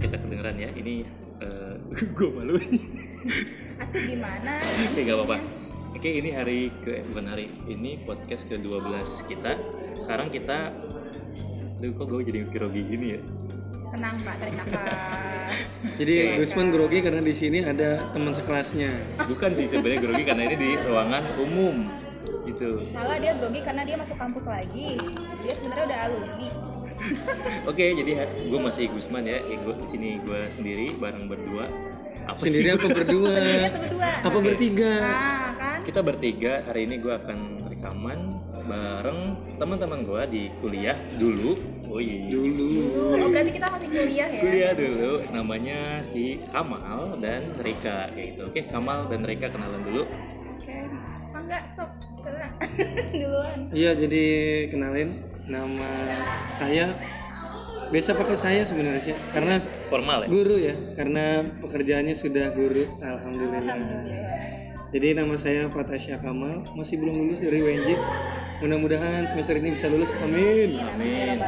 ya ini eh, gue malu atau gimana ya nggak apa-apa oke ini hari ke eh, bukan hari ini podcast ke 12 kita sekarang kita Duh, kok gue jadi grogi gini ya tenang pak tarik nafas Jadi Iya, Gusman Kak. grogi karena di sini ada teman sekelasnya. bukan sih sebenarnya grogi karena ini di ruangan umum gitu salah dia grogi karena dia masuk kampus lagi dia sebenarnya udah alumni oke jadi gue masih Gusman ya Eh, gua- di sini gue sendiri bareng berdua apa sih gua? Sendiri apa berdua? sendirinya tuh berdua Eh, Apa Oke. bertiga? nah kan kita bertiga hari ini gue akan rekaman bareng teman-teman gue di kuliah dulu oh iya Dulu. dulu oh, berarti kita masih kuliah ya kuliah dulu namanya si Kamal dan Rika kayak gitu oke Kamal dan Rika kenalan dulu oke Ah, enggak sok kena duluan Iya, jadi kenalin nama saya biasa pakai saya sebenarnya sih. karena formal ya guru ya, karena pekerjaannya sudah guru alhamdulillah. alhamdulillah Jadi nama saya Fatasya Kamal, masih belum lulus dari UNJ. Mudah-mudahan semester ini bisa lulus. Amin. amin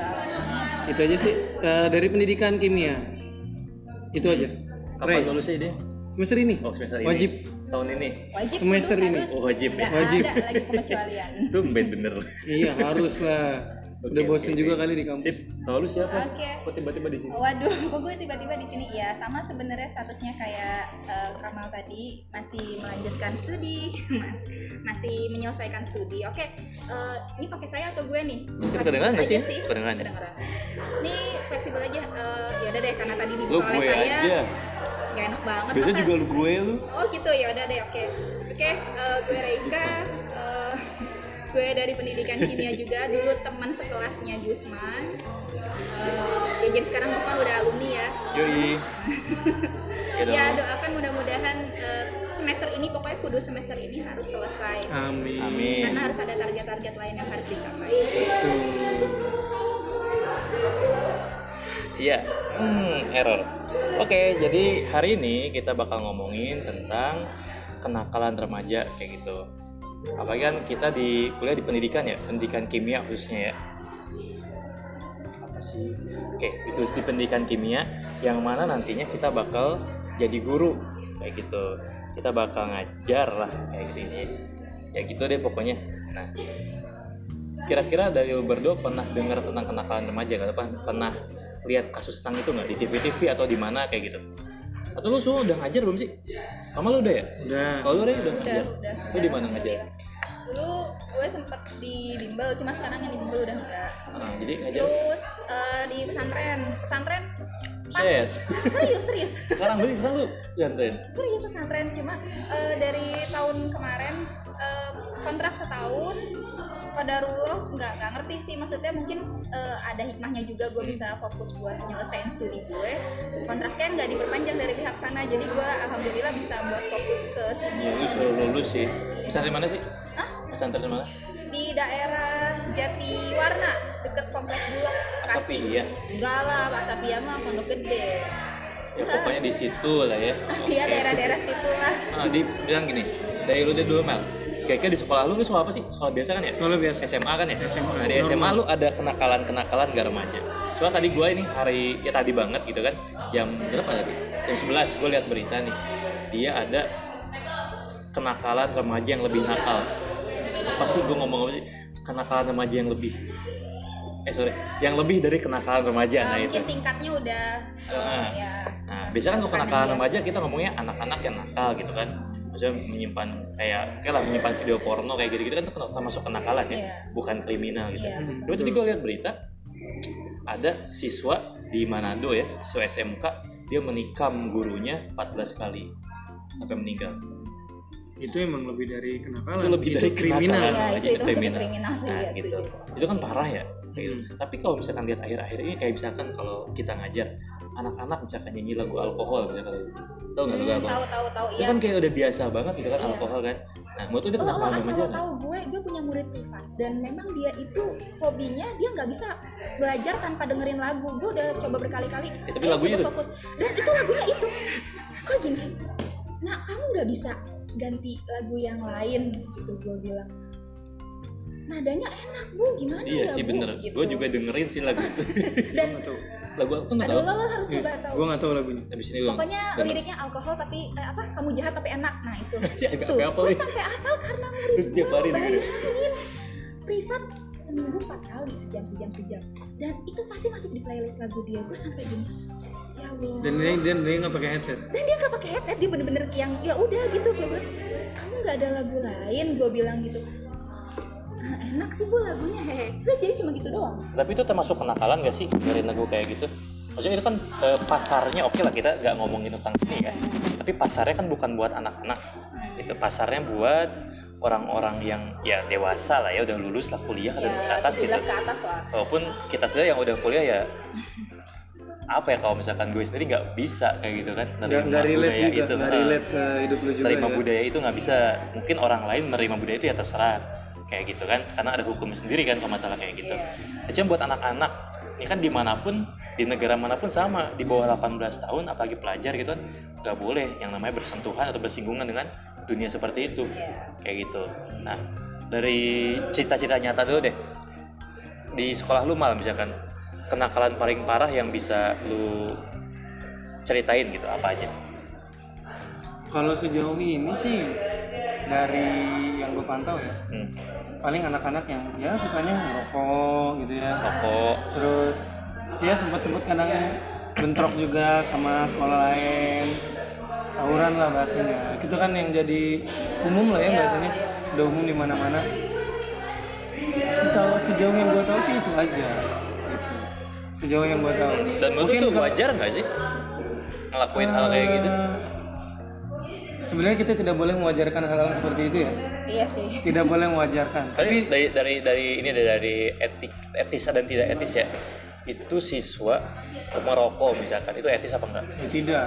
Itu aja sih eh, dari pendidikan kimia. Itu aja. kapan Ray, lulusnya dia Semester ini. oh semester ini Wajib. tahun ini wajib Semester dulu ini. harus. Oh, wajib ya? Nggak Wajib. ada lagi pengecualian itu bener Iya harus lah. Udah Oke, bosen oke, juga oke. kali di kampus. sip kalau lu siapa Oke. kok tiba-tiba di sini Waduh, kok gue tiba-tiba di sini ya. Sama sebenarnya statusnya kayak eh, Kamal tadi masih melanjutkan studi, masih menyelesaikan studi. Oke, eh, ini pakai saya atau gue nih? Mungkin kedengeran nggak Aja sih? Kedengeran. ya? Kedengeran. Ini fleksibel aja. ya udah deh, karena tadi lu dibuka oleh gue saya. aja Gak enak banget. biasanya Apa? juga lu gue lu Oh gitu ya udah deh oke oke eh, gue Reika eh, gue dari pendidikan kimia juga dulu teman sekelasnya Gusman Eh, ya jadi sekarang Gusman udah alumni ya yoi Gitu. ya doakan mudah-mudahan eh, semester ini pokoknya kudu semester ini harus selesai Amin. amin karena harus ada target-target lain yang harus dicapai Tuh. Iya, hmm, error. Oke, jadi hari ini kita bakal ngomongin tentang kenakalan remaja kayak gitu. Apalagi kan kita di kuliah di pendidikan ya, pendidikan kimia khususnya ya. Apa sih? Oke, khusus di pendidikan kimia yang mana nantinya kita bakal jadi guru kayak gitu. Kita bakal ngajar lah kayak gitu ini. Ya gitu deh pokoknya. Nah, kira-kira dari lu berdua pernah dengar tentang kenakalan remaja nggak? Pernah, pernah lihat kasus tentang itu nggak di TV-TV atau di mana kayak gitu? Atau lu semua udah ngajar belum sih? Kamu lu udah ya? Udah. Kalau lu Rey udah udah ngajar? udah Lu di mana ngajar? Iya. dulu gue sempet di bimbel cuma sekarang yang di bimbel udah enggak Ah, jadi ngajar. terus eh, di pesantren pesantren Set. serius serius Sekarang beli sekarang lu jantain. serius pesantren cuma eh, dari tahun kemarin eh, kontrak setahun Qadarullah nggak nggak ngerti sih maksudnya mungkin eh, ada hikmahnya juga Hmm. gue bisa fokus buat nyelesain studi gue kontraknya nggak diperpanjang dari pihak sana jadi gue alhamdulillah bisa buat fokus ke sini Lulus Iya, lu lulus sih. Pesantren mana sih? Hah? Pesantren mana? di daerah Jati Warna deket komplek Bulog Asapi ya. enggak lah Asapi mah pondok gede Ya pokoknya di situ lah ya. iya daerah-daerah situ lah Ah, di bilang gini, dari lu deh dulu Mel. Kayaknya di sekolah lu ini sekolah apa sih? Sekolah biasa kan ya? Sekolah biasa. SMA kan ya? SMA, Nah, di SMA normal. lu ada kenakalan-kenakalan gak remaja? Soalnya tadi gue ini hari, ya tadi banget gitu kan Jam berapa tadi? Jam 11 gue lihat berita nih Dia ada kenakalan remaja yang lebih nakal Apa sih gue ngomong apa sih? Kenakalan remaja yang lebih Eh sorry, yang lebih dari kenakalan remaja Eh, Nah itu mungkin tingkatnya udah eh, Ah. ya Nah, biasanya kan kalau kenakalan remaja kita ngomongnya anak-anak yang nakal gitu kan. Maksudnya menyimpan kayak kayak lah menyimpan video porno kayak gitu-gitu kan itu kena- termasuk kenakalan ya, Iya. bukan kriminal gitu. Iya. Tapi tadi gue lihat berita ada siswa di Manado ya, siswa SMK dia menikam gurunya 14 kali sampai meninggal. Itu emang lebih dari kenakalan. Itu lebih dari kriminal. kenakalan. Iya, Nah, itu, jadi itu masuk kriminal. kriminal sih Nah, ya, gitu. setuju. Itu kan parah ya. kayak gitu. Hmm. Tapi kalau misalkan lihat akhir-akhir ini kayak misalkan kalau kita ngajar anak-anak misalkan nyanyi lagu alkohol misalkan tau nggak lagu Hmm, alkohol? Tahu tahu tahu itu iya. kan kayak udah biasa banget gitu kan Iya. alkohol kan nah menurut lu itu Oh, oh, kenakalan asal remaja lo nggak? tahu gue, gue punya murid privat dan memang dia itu hobinya dia nggak bisa belajar tanpa dengerin lagu. Gue udah coba berkali-kali. Ya, tapi "Ayo, lagunya coba tuh." fokus. Dan itu lagunya itu. Kok gini? Nah, kamu nggak bisa ganti lagu yang lain gitu gue bilang. nadanya enak bu gimana Iya ya sih Bu?" bener. gitu. Gue juga dengerin sih lagu itu. dan nggak tahu lagu aku nggak aduh tahu. lo, lo harus coba tahu gue nggak tahu lagunya Habis ini doang. pokoknya Denger. liriknya alkohol tapi eh, apa kamu jahat tapi enak nah itu Ya, agak tuh apa gue nih? sampai hafal karena Terus tiap hari dengerin. bayangin privat seminggu empat kali sejam sejam sejam dan itu pasti masuk di playlist lagu dia gue sampai gini ya allah dan dia dan dia nggak pakai headset dan dia gak pakai headset dia bener-bener yang ya udah gitu gue bilang kamu nggak ada lagu lain gue bilang gitu "Ah, enak sih bu lagunya hehe udah jadi cuma gitu doang Tapi itu termasuk kenakalan gak sih dengerin lagu kayak gitu? Maksudnya itu kan eh, pasarnya oke lah kita nggak ngomongin tentang ini ya. Tapi pasarnya kan bukan buat anak-anak. Itu pasarnya buat orang-orang yang ya dewasa lah ya udah lulus lah kuliah Iya, dan ke atas gitu. 17 ke atas lah Walaupun kita sendiri yang udah kuliah ya apa ya kalau misalkan gue sendiri nggak bisa kayak gitu kan nggak nggak relate budaya juga itu. nggak Eh, relate ke hidup lu juga terima ya. budaya itu nggak bisa mungkin orang lain menerima budaya itu ya terserah kayak gitu kan karena ada hukum sendiri kan kalau masalah kayak gitu Iya. Nah, Cuma buat anak-anak, ini kan dimanapun, di negara manapun sama, di bawah 18 tahun, apalagi pelajar gitu kan, nggak boleh yang namanya bersentuhan atau bersinggungan dengan dunia seperti itu, Iya. kayak gitu. Nah, dari cita-cita nyata dulu deh, di sekolah lu malah misalkan kenakalan paling parah yang bisa lu ceritain gitu apa aja? kalau sejauh ini sih dari yang gue pantau ya Hmm, paling anak-anak yang ya sukanya ngerokok gitu ya rokok, terus dia sempat sempat kadang Iya. bentrok juga sama sekolah lain tawuran lah bahasanya itu kan yang jadi umum lah ya Iya, bahasanya iya. udah umum di mana mana setahu sejauh yang gue tahu sih itu aja gitu. sejauh yang gue tahu dan menurut lu itu kalau- wajar nggak sih ngelakuin hal kayak gitu? Eh, sebenarnya kita tidak boleh mewajarkan hal-hal seperti itu ya iya sih tidak boleh mewajarkan Tapi dari dari dari ini ada dari etik etis dan tidak etis ya. Itu siswa merokok misalkan itu etis apa enggak? Ya, tidak.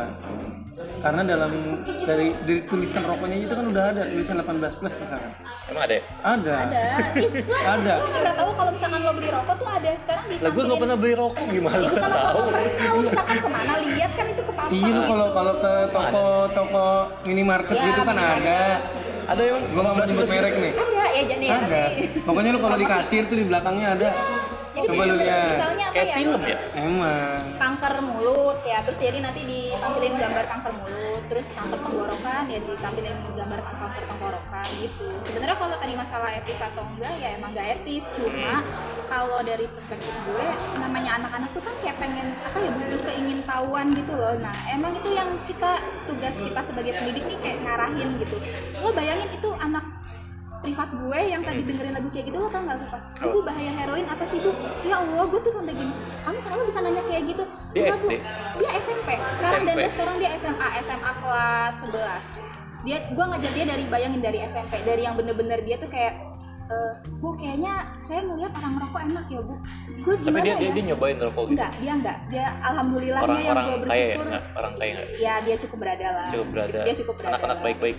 Karena dalam dari, dari tulisan rokoknya itu kan udah ada tulisan 18 plus misalkan. Emang ada ya? Ada. ada Ih, gue Ada. gue nggak tahu kalau misalkan lo beli rokok tuh ada sekarang di Lah gue nggak pernah beli rokok gimana itu gue kalau tahu. rokok pernah tahu misalkan kemana lihat kan itu ke pampang Iya lu kalau kalau ke toko-toko minimarket Ya, gitu kan ada. Ada emang? Gua nggak mau nyebut 11 merek nih. ada ya jadi ya, Ada. nanti. Pokoknya lu kalau di kasir tuh di belakangnya ada. jadi Coba lu misalnya- lihat. misalnya apa Kayak ya film ya. Emang. kanker mulut ya terus jadi nanti ditampilin gambar kanker mulut terus kanker tenggorokan ya ditampilin gambar kanker tenggorokan gitu sebenarnya kalau tadi masalah etis atau enggak ya emang gak etis cuma kalau dari perspektif gue namanya anak-anak tuh kan kayak pengen apa ya butuh keingintahuan gitu loh nah emang itu yang kita tugas kita sebagai pendidik nih kayak ngarahin gitu lo bayangin itu anak privat gue yang tadi dengerin lagu kayak gitu lo tau gak sih pak? Apa? Bu bahaya heroin apa sih bu? Ya Allah gue tuh kan udah gini Kamu kenapa bisa nanya kayak gitu? Dia Enggak, Bu. SD. Dia SMP Sekarang dan SMP. dia sekarang dia SMA SMA kelas 11 dia, Gue ngajar dia dari bayangin dari SMP Dari yang bener-bener dia tuh kayak "Eh, Bu kayaknya saya ngeliat orang ngerokok enak ya bu Gue Tapi gimana dia, ya? dia dia nyobain rokok gitu. Enggak, dia enggak Dia alhamdulillahnya yang Orang-orang kaya gue ya, bersyukur Iya. nggak? orang kaya nggak? Ya dia cukup berada lah Cukup berada. Dia cukup berada Anak-anak lah. baik-baik.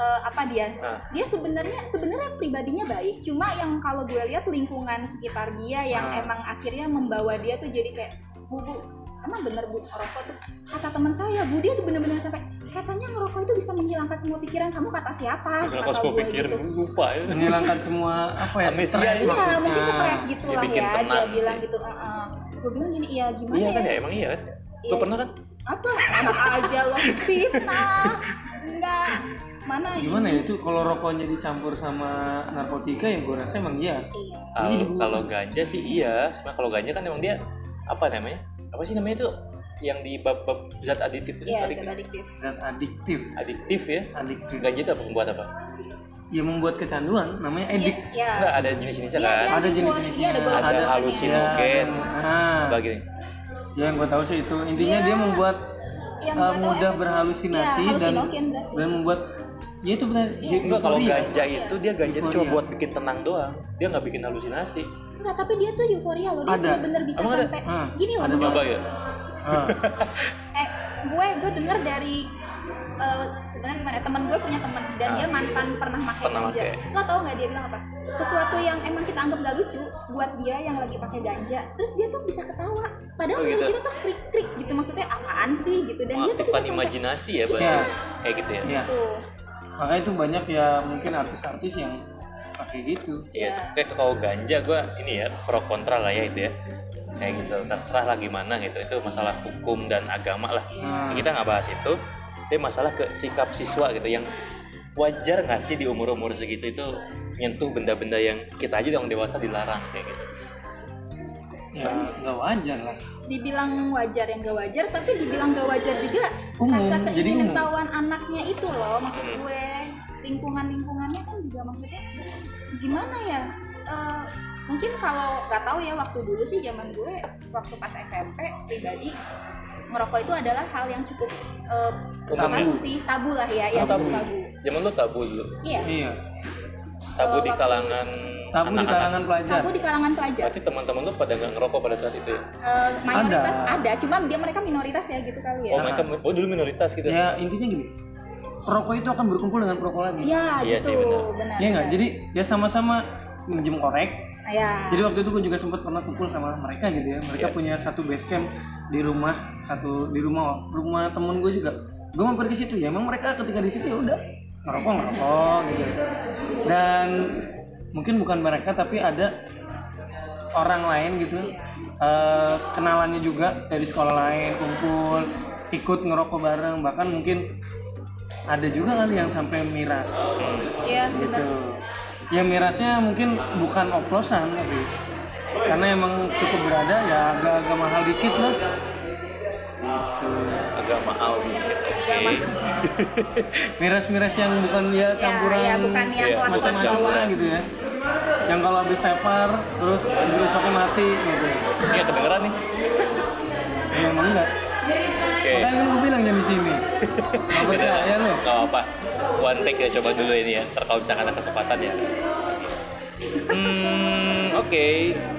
Eh, Apa dia Nah, dia sebenarnya sebenarnya pribadinya baik cuma yang kalau gue lihat lingkungan sekitar dia yang Ah. emang akhirnya membawa dia tuh jadi kayak bu bu emang bener bu ngerokok tuh kata teman saya bu dia tuh bener-bener sampai katanya ngerokok itu bisa menghilangkan semua pikiran kamu kata siapa kenapa kata semua gue pikir gitu. lupa ya? Menghilangkan semua apa ya? Amnesia stres ya. Iya, maksudnya. mungkin stres gitu Dia lah bikin ya. Dia tenang bilang sih. gitu, "Ah, ah." Gue bilang gini, iya gimana Iya kan ya? ya, emang iya kan? Iya. Gue pernah kan? Apa? Anak aja lo fitnah. Enggak. Mana Gimana ya itu kalau rokoknya dicampur sama narkotika ya gue rasa emang iya. Iya. Kalau Iya. kalau ganja sih iya, sebenarnya kalau ganja kan emang dia apa namanya? Apa sih namanya itu yang di bab-bab zat aditif itu? Iya, Adik- zat adiktif. Eh, Zat adiktif. adiktif ya Adiktif. ganja itu apa membuat apa Ya membuat kecanduan namanya edik. Iya. enggak ada jenis-jenisnya Iya, kan dia Ada Iya, jenis-jenisnya. ada ada Ah. golongan-golongannya. halusinogen Nah, apa gini ya yang gue tahu sih itu intinya Iya. dia membuat Yang uh, gua tahu mudah emang- berhalusinasi Iya, dan halusinogen berarti. dan membuat ya itu benar Iya. ya, enggak kalau euforia. ganja itu dia ganja itu cuma Euforia. buat bikin tenang doang dia nggak bikin halusinasi Enggak, tapi dia tuh euforia loh. Dia Ada. bener-bener bisa Emang ada? sampai Hmm, gini loh. ada Bu. nyoba ya Ah, Eh, gue gue denger dari eh, sebenarnya gimana ya, teman gue punya teman dan Ah. dia mantan pernah pakai Pernah ganja. pakai. Lo tau nggak dia bilang apa? Sesuatu yang emang kita anggap gak lucu buat dia yang lagi pakai ganja, terus dia tuh bisa ketawa. Padahal Oh, menurut gitu. kita tuh krik-krik gitu maksudnya apaan sih gitu dan dia tuh mengaktifkan bisa sampai imajinasi ya Iya. bahasa kayak gitu ya ya. tuh. makanya itu banyak ya mungkin artis-artis yang pakai kayak gitu Iya, kayak kalau ganja gue ini ya pro kontra lah ya itu ya. Kayak gitu, terserah lah gimana gitu. Itu masalah hukum dan agama lah. nah, Kita nggak bahas itu. Tapi masalah ke sikap siswa gitu yang wajar nggak sih di umur-umur segitu itu nyentuh benda-benda yang kita aja orang dewasa dilarang kayak gitu. ya nggak wajar lah dibilang wajar yang gak wajar tapi dibilang gak wajar juga Umum, rasa Iya, jadi umum. keingintahuan anaknya itu loh maksud Hmm. gue lingkungan lingkungannya kan juga maksudnya gimana ya Eh, mungkin kalau nggak tahu ya waktu dulu sih zaman gue waktu pas SMP pribadi merokok itu adalah hal yang cukup eh, Umum tabu ya? sih tabu lah ya Oh, ya Tabu. cukup tabu Zaman lu tabu dulu. iya iya Tabu Eh, di waktu- kalangan Oh, tabu di anak-anak. kalangan Ya. pelajar tabu di kalangan pelajar Berarti teman-teman lu pada nggak ngerokok pada saat itu ya? Eh, mayoritas Ada. ada. cuma dia mereka minoritas ya gitu kali ya Iya. Oh mereka, oh dulu minoritas gitu. ya intinya gini perokok itu akan berkumpul dengan perokok lagi Iya Iya gitu, sih, benar. benar. Iya nggak? Jadi Gitu. ya sama-sama minjem korek. ya. Jadi waktu itu gue juga sempat pernah kumpul sama mereka gitu ya. Mereka Iya. punya satu base camp di rumah, satu di rumah rumah temen gue juga. Gue mampir ke situ ya. Emang mereka ketika di situ ya udah ngerokok ngerokok gitu. Dan mungkin bukan mereka tapi ada orang lain gitu. eh, kenalannya juga dari sekolah lain kumpul ikut ngerokok bareng bahkan mungkin ada juga kali yang sampai miras Iya, benar. gitu ya mirasnya mungkin bukan oplosan tapi karena emang cukup berada ya agak-agak mahal dikit lah gitu Agak mahal dikit. Oke. Agak mahal. miras-miras yang bukan ya Ya, campuran ya, bukan yang Iya, kelas-kelas macam-macam bawah. macam-macam gitu ya yang kalau habis tepar terus besoknya mati gitu Ini kedengeran nih. ya, emang enggak Oke. makanya kan gue bilang jam di sini ya, nggak percaya lo Gak apa-apa. One take kita coba dulu ini ya. Ntar kalau misalkan ada kesempatan ya. Hmm, oke.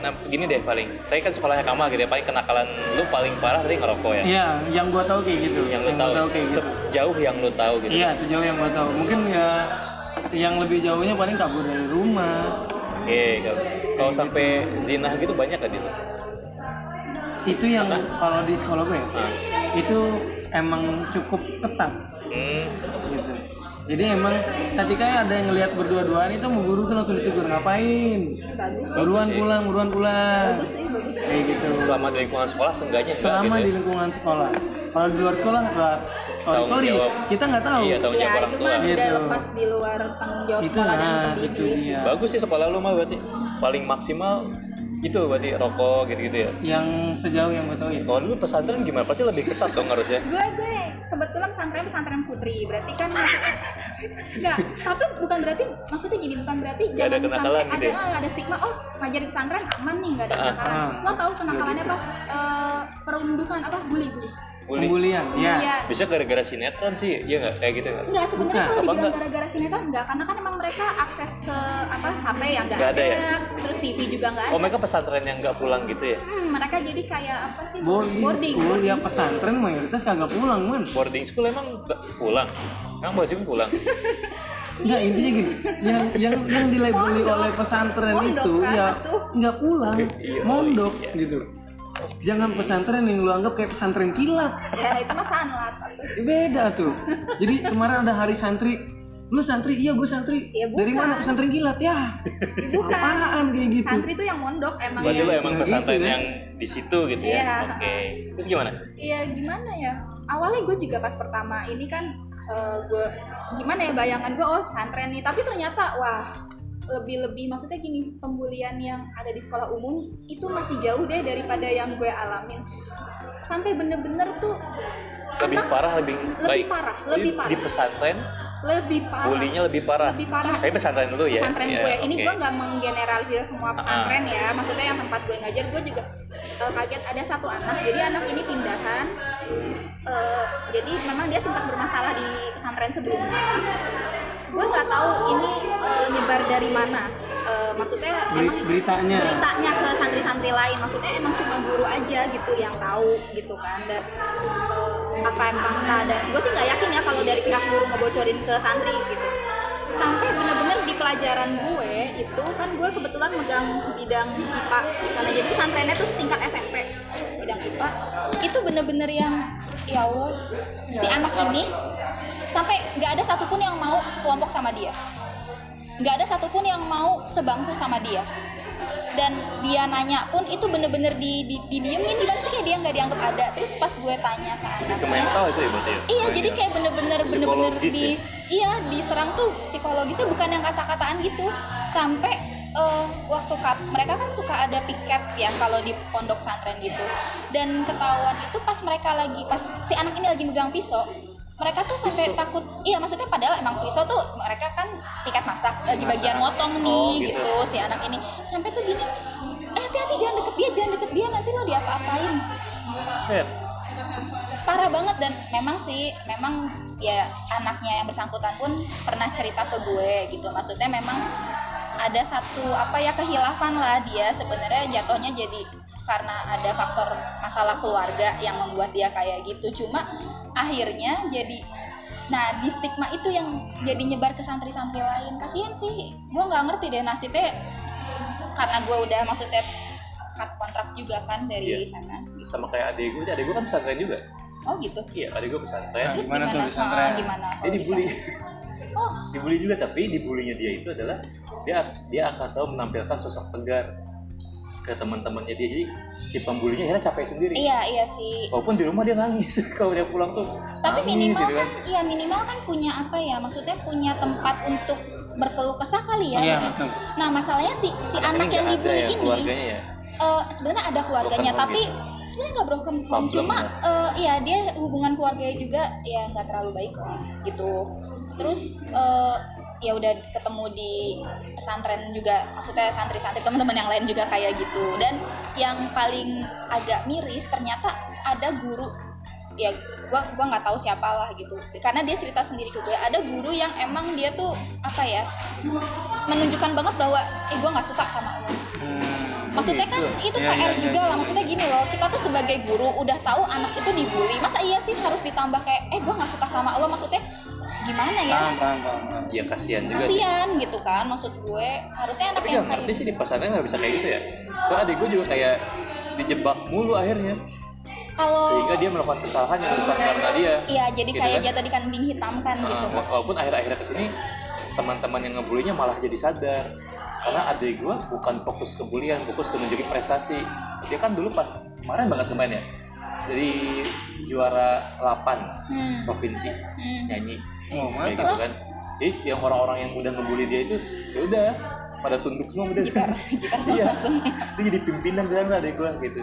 Nah, gini deh paling. Tadi kan sekolahnya Kamal gitu ya. Paling kenakalan lu paling parah tadi ngerokok ya. Iya, yang gue tahu kayak gitu Yang lu gua tahu. kayak gitu Sejauh yang lu tahu gitu. Iya sejauh yang gue tahu. Mungkin ya yang lebih jauhnya paling kabur dari rumah. Oke. kalau- Iya, Kalau sampai zina gitu banyak gak dia? Itu yang kalau di sekolah gue ya, Nah, itu emang cukup ketat Hmm. gitu. Jadi emang ketika ada yang ngelihat berdua-duaan itu mau guru tuh langsung ditegur ngapain? Bagus sih. Buruan pulang, buruan pulang. Bagus sih, bagus sih. Kayak gitu. Selama di lingkungan sekolah seenggaknya enggak Selama gitu. di ya. lingkungan sekolah. Kalau di luar sekolah, nggak- sorry Tanggung sorry, jawab. kita nggak tahu. Iya, tanggung Iya, jawab orang itu tua. mah udah Gitu. lepas di luar tanggung jawab Itu sekolah dan nah, itu pendidik. dia. Bagus sih sekolah lu mah berarti. Paling maksimal itu berarti rokok gitu-gitu ya. Yang sejauh yang gue tahu ya. Kalau dulu pesantren gimana? Pasti lebih ketat dong harusnya. Gue gue kebetulan pesantren pesantren putri, berarti kan maksudnya enggak, tapi bukan berarti maksudnya gini, bukan berarti Nggak ada jangan kenakalan sampai gitu ada ya? ah, ada stigma oh ngajar di pesantren aman nih nggak ada Ah, gitu. kenakalan. ah. Lo tau kenakalannya apa? Eh, perundukan apa? Bully-bully. Bully. Pembulian. Ya. Iya. Bisa gara-gara sinetron sih, iya nggak kayak gitu nggak? Enggak, sebenarnya Bukan. kalau Apa dibilang enggak? gara-gara sinetron enggak, karena kan emang mereka akses ke apa HP yang enggak Enggak ada, ada ya? terus TV juga enggak ada. Oh mereka pesantren yang nggak pulang gitu ya? Hmm, mereka jadi kayak apa sih? boarding, school ya boarding pesantren mayoritas kagak pulang man Boarding school emang nggak pulang? Emang boleh sih pulang? Iya, nggak intinya gini yang yang yang dilabeli Mondok. oleh pesantren Mondok itu kan, ya atuh. nggak pulang Iya, oh mondok iya. gitu jangan pesantren yang lu anggap kayak pesantren kilat school. Ya itu mah sanlat atau beda tuh jadi kemarin ada hari santri lu santri iya gue santri Iya, dari bukan. mana pesantren kilat ya Ya, bukan. apaan kayak gitu Santri itu yang mondok emang Berarti lo ya. emang Nah, pesantren gitu ya. yang di situ gitu ya? Iya. Oke. Terus gimana? Iya gimana ya? Awalnya gue juga pas pertama ini kan eh, gue gimana ya bayangan gue oh pesantren nih, tapi ternyata wah lebih-lebih maksudnya gini pembulian yang ada di sekolah umum itu masih jauh deh daripada yang gue alamin sampai bener-bener tuh Lebih anak parah, lebih, lebih baik. parah, Jadi lebih parah. Di pesantren, lebih parah bulinya lebih parah. lebih parah Tapi pesantren dulu ya? pesantren Iya, gue ini oke. Ah, gue nggak menggeneralisir semua pesantren ya maksudnya yang tempat gue ngajar gue juga eh, kaget ada satu anak jadi anak ini pindahan Eh, jadi memang dia sempat bermasalah di pesantren sebelumnya gue nggak tahu ini eh, nyebar dari mana Eh, maksudnya Beri- emang beritanya beritanya ke santri-santri lain maksudnya emang cuma guru aja gitu yang tahu gitu kan dan eh, apa emang tak ada gue sih nggak yakin ya kalau dari pihak guru ngebocorin ke santri gitu sampai bener-bener di pelajaran gue itu kan gue kebetulan megang bidang IPA di sana jadi pesantrennya tuh setingkat SMP bidang IPA itu bener-bener yang ya Allah si anak ini sampai nggak ada satupun yang mau sekelompok sama dia nggak ada satupun yang mau sebangku sama dia dan dia nanya pun itu bener-bener di, di, didiemin gimana sih kayak dia nggak dianggap ada terus pas gue tanya ke ke anaknya mental itu ya berarti ya? Iya, Poinnya. jadi kayak bener-bener bener-bener Psikologis ya? di iya diserang tuh psikologisnya bukan yang kata-kataan gitu sampai eh, waktu kap mereka kan suka ada piket ya kalau di pondok santren gitu dan ketahuan itu pas mereka lagi pas si anak ini lagi megang pisau mereka tuh sampai takut iya maksudnya padahal emang pisau tuh mereka kan piket masak lagi bagian motong nih Oh, gitu. gitu. si anak ini sampai tuh gini eh hati-hati jangan deket dia jangan deket dia nanti lo diapa-apain set parah banget dan memang sih memang ya anaknya yang bersangkutan pun pernah cerita ke gue gitu maksudnya memang ada satu apa ya kehilafan lah dia sebenarnya jatuhnya jadi karena ada faktor masalah keluarga yang membuat dia kayak gitu cuma akhirnya jadi nah di stigma itu yang jadi nyebar ke santri-santri lain kasihan sih gue nggak ngerti deh nasibnya karena gue udah maksudnya cut kontrak juga kan dari Iya. sana sama kayak adik gue sih adik gue kan pesantren juga oh gitu iya adik gue pesantren Nah, Terus gimana gimana, tuh di pesantren? Ah, gimana dia kalau di dibully sana? Oh, dibully juga tapi dibulinya dia itu adalah dia dia akan selalu menampilkan sosok tegar ke teman-temannya dia jadi si pembulinya akhirnya capek sendiri iya iya sih. Oh, walaupun di rumah dia nangis kalau dia pulang tuh Tapi nangis minimal gitu kan, iya minimal kan punya apa ya? Maksudnya punya tempat untuk berkeluh kesah kali ya. Iya, betul. Nah, masalahnya si si anak Ini yang nggak dibully ada ya, ini keluarganya ya eh, sebenarnya ada keluarganya, Broken home tapi sebenarnya nggak broken home. Problem Cuma ya. eh, iya dia hubungan keluarganya juga ya nggak terlalu baik lah gitu. Terus eh, ya udah ketemu di pesantren juga, maksudnya santri-santri teman-teman yang lain juga kayak gitu. Dan yang paling agak miris ternyata ada guru ya gua gua nggak tahu siapa lah gitu karena dia cerita sendiri ke gue ada guru yang emang dia tuh apa ya menunjukkan banget bahwa eh gua nggak suka sama lo Hmm. maksudnya kan Gitu. itu Iya, PR iya, iya, juga iya. lah maksudnya gini loh kita tuh sebagai guru udah tahu anak itu dibully masa iya sih harus ditambah kayak eh gue nggak suka sama lo maksudnya gimana ya Paham, paham, paham, paham. ya kasihan juga sih. kasian gitu kan maksud gue harusnya anak tapi yang nggak kayak ngerti sih di pesantren nggak bisa kayak gitu ya soalnya adik gue juga kayak dijebak mulu akhirnya kalau sehingga dia melakukan kesalahan yang bukan karena dia iya jadi Gitu kayak kan? jatuh di kambing hitam kan gitu Nah, walaupun akhir-akhirnya kesini teman-teman yang ngebulinya malah jadi sadar karena adik gue bukan fokus ke bulian fokus ke menjadi prestasi dia kan dulu pas kemarin banget kemarin ya jadi juara 8 hmm, provinsi hmm. nyanyi Oh, kayak mantap. gitu kan jadi yang orang-orang yang udah ngebully dia itu ya udah pada tunduk semua Gitu. udah jipar jipar Iya. semua semua dia jadi pimpinan sekarang adik gue gitu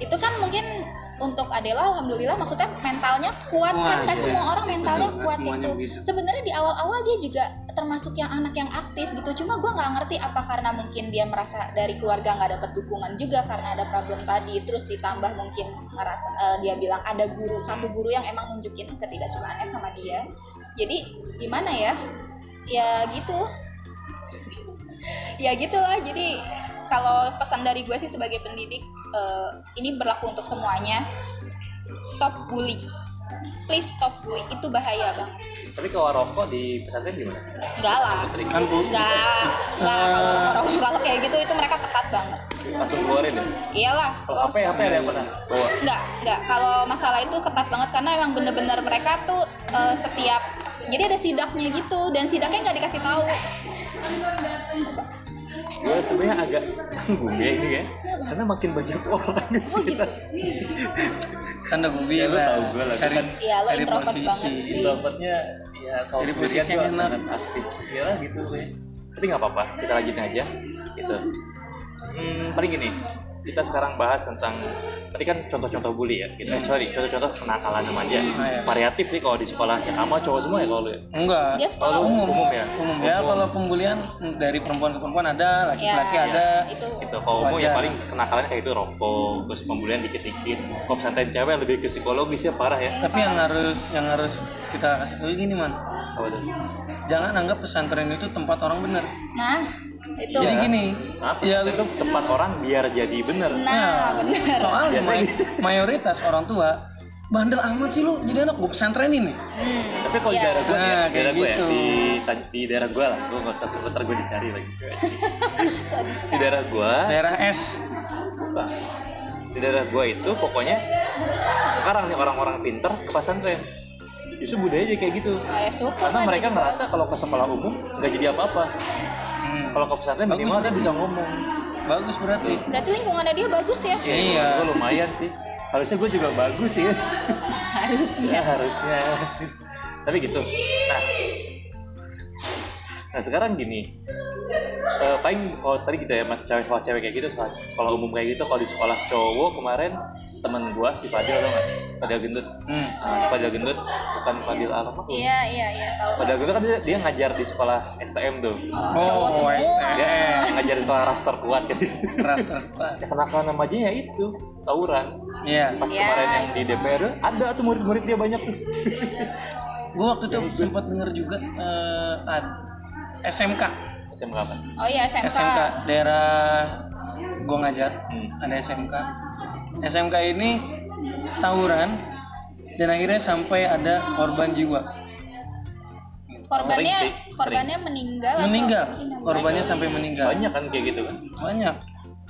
itu kan mungkin untuk Adela alhamdulillah maksudnya mentalnya kuat kan Wah, nggak iya, semua orang betul, mentalnya nggak kuat semuanya gitu. itu begitu. sebenarnya di awal-awal dia juga termasuk yang anak yang aktif gitu cuma gue nggak ngerti apa karena mungkin dia merasa dari keluarga nggak dapat dukungan juga karena ada problem tadi terus ditambah mungkin ngerasa eh, dia bilang ada guru satu guru yang emang nunjukin ketidaksukaannya sama dia jadi gimana ya ya gitu ya gitulah jadi kalau pesan dari gue sih sebagai pendidik eh, ini berlaku untuk semuanya stop bully please stop bully itu bahaya banget tapi kalau rokok di pesantren gimana? enggak lah Kan Bu, enggak enggak Eh. kalau orang-orang kalau kayak gitu itu mereka ketat banget langsung keluarin ya? iyalah kalau ya? HP, HP ada yang pernah bawa Enggak, enggak. Kalau masalah itu ketat banget karena emang bener-bener mereka tuh eh, setiap jadi ada sidaknya gitu dan sidaknya nggak dikasih tahu. gue sebenarnya agak canggung ya ini ya karena makin banyak orang di Oh gitu. sekitar kan udah Ya, gue lu bilang, tahu gua lah, cari, kan. Iya, lo cari introvert banget posisi. gitu. sih. dapatnya ya kalau Jadi sendirian posisi yang gua enak. sangat aktif ya lah gitu ya tapi nggak apa-apa kita lanjutin aja gitu hmm, paling gini kita sekarang bahas tentang tadi kan contoh-contoh bully ya gitu eh, sorry contoh-contoh kenakalan remaja iya. variatif nih kalau di sekolahnya kamu cowok semua ya kalau lu ya? Enggak. Dia sekolah Kalau umum. umum ya Umum ya kalau pembulian dari perempuan ke perempuan ada, laki-laki Ya, ada. Itu. gitu kalau umum ya Wajar. paling kenakalannya kayak itu rokok terus pembulian dikit-dikit kalau pesantren cewek lebih ke psikologis ya parah ya Tapi yang harus yang harus kita kasih tahu gini man, apa tuh jangan anggap pesantren itu tempat orang benar. Nah, Iya. itu. Jadi gini, Maaf, ya itu tempat orang biar jadi bener iya. Nah, benar. Biasanya soalnya may- gitu. mayoritas orang tua bandel amat sih lu jadi anak gue pesantrenin nih. Hmm. tapi kalau di Iya. daerah gue nih, Nah, di daerah kayak gue ya gitu. di, ta- di daerah gue lah gue nggak usah sebut ntar gue dicari lagi Sorry. di daerah gue Daerah S. bukan. di daerah gue itu pokoknya sekarang nih orang-orang pinter ke pesantren justru budaya jadi kayak gitu Eh, syukur karena lah mereka jadi ngerasa kalau ke sekolah umum nggak jadi apa-apa kalau ke pesantren Bagus minimal dia berarti. bisa ngomong Hmm, bagus berarti bagus. Berarti lingkungannya dia bagus ya? Iya. gue lumayan sih harusnya gue juga bagus sih ya Harusnya. Iya, harusnya tapi gitu nah nah sekarang gini Eh, paling kalau tadi gitu ya mas cewek sekolah cewek kayak gitu sekolah, sekolah umum kayak gitu kalau di sekolah cowok kemarin teman gua si Fadil tau nggak Fadil gendut Hmm. Nah, si Fadil gendut bukan Fadil apa apa Iya, iya, iya, tahu. Fadil gendut kan dia, dia ngajar di sekolah STM tuh Oh, Cowok semua. dia ngajar di sekolah ras terkuat gitu keras terbat ya kenakalan namanya ya itu tawuran iya pas Ya, kemarin yang itu di DPR ada tuh murid-murid dia banyak tuh gue waktu itu sempat denger juga eh, ad- SMK SMK apa? Oh iya, SMK. SMK daerah gue ngajar Hmm. ada SMK SMK ini tawuran dan akhirnya sampai ada korban jiwa Korbannya, Sering sih, korbannya meninggal. atau- meninggal Meninggal. korbannya sampai meninggal banyak kan kayak gitu kan banyak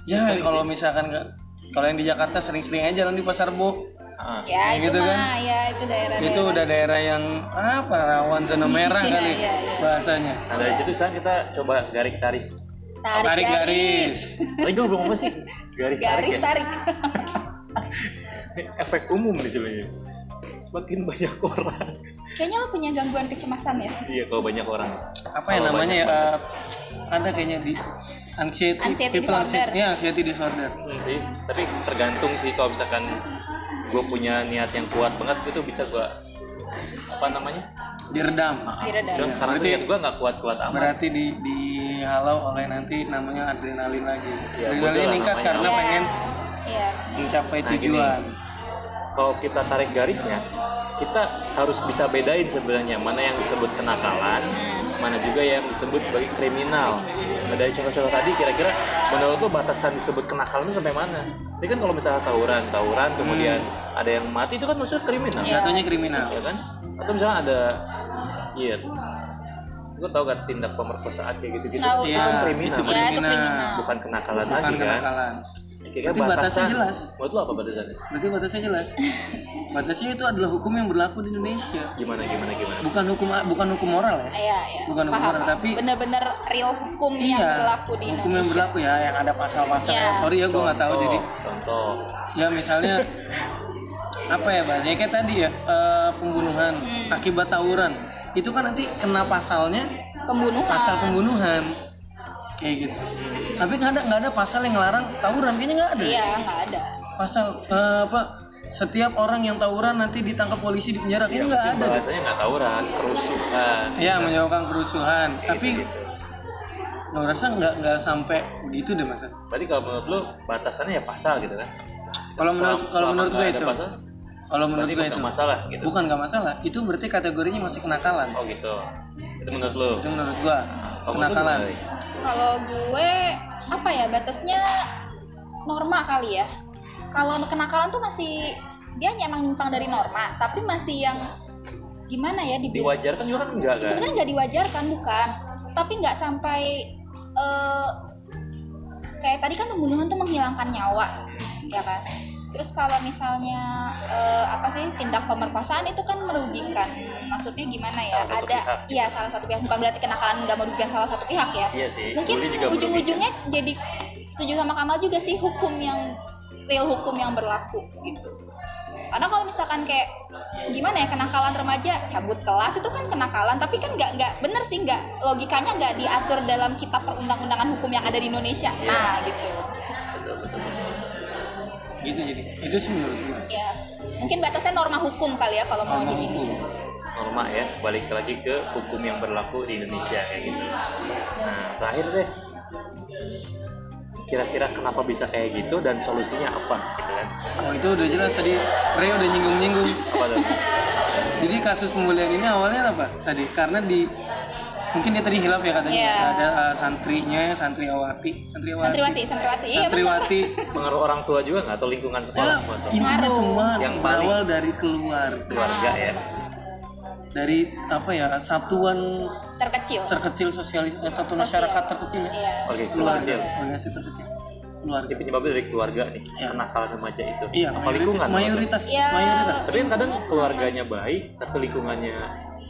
ya kalau misalkan nggak- kalau yang di Jakarta sering-sering aja jalan di pasar bo Ah. Ya Kayak itu gitu mah, kan. ya itu daerah. itu udah daerah yang apa rawan zona merah Iya, kali iya, iya. bahasanya nah dari situ sekarang kita coba garik taris tarik, tarik garis, tadi gue ngomong apa sih garis, garis tarik, tarik. ya? efek umum nih sebenarnya semakin banyak orang Kayaknya lo punya gangguan kecemasan ya? iya kalau banyak orang apa ya Kalau namanya ya Oh, banyak eh, ada kayaknya di anxiety, Anxiety disorder. anxiety, ya, anxiety disorder Hmm, sih tapi tergantung sih kalau misalkan gue punya niat yang kuat banget itu bisa gue apa namanya diredam Diredam. Cuman sekarang tuh Berarti- niat gue nggak kuat-kuat amat berarti di dihalau oleh nanti namanya adrenalin lagi Ya, bodoh adrenalin lah meningkat namanya. karena Iya. pengen Iya. mencapai Nah, gini. tujuan kalau kita tarik garisnya kita harus bisa bedain sebenarnya mana yang disebut kenakalan Nah, mana juga yang disebut sebagai kriminal. Nah, dari contoh-contoh tadi kira-kira menurut lo batasan disebut kenakalan itu sampai mana? Ini kan kalau misalnya tawuran, tawuran kemudian Hmm. ada yang mati itu kan maksudnya kriminal, Iya. jatuhnya kriminal ya kan? Atau misalnya ada iya itu kan tau kan tindak pemerkosaan kayak gitu-gitu Tahu, itu tahu. kan kriminal, ya itu Iya, kriminal. kriminal. bukan kenakalan bukan lagi kan? kenakalan Kira-kira Berarti batasnya jelas. Menurut lo apa batasannya? berarti batasnya jelas batasnya itu adalah hukum yang berlaku di Indonesia Gimana gimana gimana? bukan hukum bukan hukum moral ya Iya, iya. Bukan Paham, ukuran, paham. tapi- bener-bener real hukum yang berlaku di Iya. hukum yang Indonesia. berlaku ya yang ada pasal-pasal Iya. sorry ya gue nggak tahu Contoh, jadi contoh ya misalnya apa ya bahasanya kayak tadi ya eh, pembunuhan Hmm. akibat tawuran itu kan nanti kena pasalnya Pembunuhan. Hmm. pasal pembunuhan kayak gitu tapi nggak ada nggak ada pasal yang ngelarang tawuran kayaknya nggak ada Iya, nggak ada. pasal eh, apa setiap orang yang tawuran nanti ditangkap polisi di penjara Ya, kayaknya nggak mungkin ada bahasanya nggak tawuran, kerusuhan. ya menyebabkan kerusuhan Kayak tapi gitu-gitu. gue rasa nggak nggak sampai begitu deh masa Berarti kalau menurut lu batasannya ya pasal gitu kan? kalau menurut Selama- kalau selama menurut nggak gue ada itu pasal, kalau menurut berarti gue bukan itu masalah gitu. bukan nggak masalah itu berarti kategorinya masih kenakalan Oh gitu. Itu menurut lu. itu menurut gua Kalau menurut lu kenakalan gimana, Ri? Kalau gue apa ya batasnya norma kali ya. Kalau kenakalan tuh masih dia emang nyimpang dari norma, tapi masih yang gimana ya dibilang Diwajarkan juga kan enggak kan? sebenarnya nggak diwajarkan bukan tapi nggak sampai eh, kayak tadi kan pembunuhan tuh menghilangkan nyawa ya kan terus kalau misalnya eh, apa sih tindak pemerkosaan itu kan merugikan maksudnya gimana Salah Nah, ya satu ada pihak. iya salah satu pihak bukan berarti kenakalan nggak merugikan salah satu pihak ya Iya sih. mungkin bully juga ujung-ujungnya jadi setuju sama Kamal juga sih hukum yang real hukum yang berlaku gitu karena kalau misalkan kayak gimana ya kenakalan remaja cabut kelas itu kan kenakalan tapi kan nggak nggak bener sih nggak logikanya nggak diatur dalam kitab perundang-undangan hukum yang ada di Indonesia Iya. nah gitu merugikan. Betul, betul. gitu jadi itu sih menurut gua ya mungkin batasnya norma hukum kali ya kalau mau Norma hukum. digini Norma ya, balik lagi ke hukum yang berlaku di Indonesia kayak gitu. Nah, terakhir deh. Kira-kira kenapa bisa kayak gitu dan solusinya apa gitu kan? oh itu udah jelas tadi Ray udah nyinggung-nyinggung Apa tuh? jadi kasus pemulihan ini awalnya apa tadi karena di mungkin dia tadi hilaf ya katanya Iya. ada uh, santrinya santriawati santriawati santriwati santriwati iya bener. santriwati Pengaruh orang tua juga nggak atau lingkungan ya, sekolah? atau intinya Pengaruh. semua Yang paling- berawal dari keluar keluarga ya? dari apa ya satuan terkecil terkecil sosialis eh, satuan Sosial. masyarakat terkecil ya iya Oke, keluarga Sosial. organisasi terkecil Jadi keluarga penyebabnya dari keluarga nih, Iya. kenakalan remaja itu. iya Apa mayoritas lingkungan? mayoritas, Ya. mayoritas. Tapi kan kadang keluarganya baik, tapi lingkungannya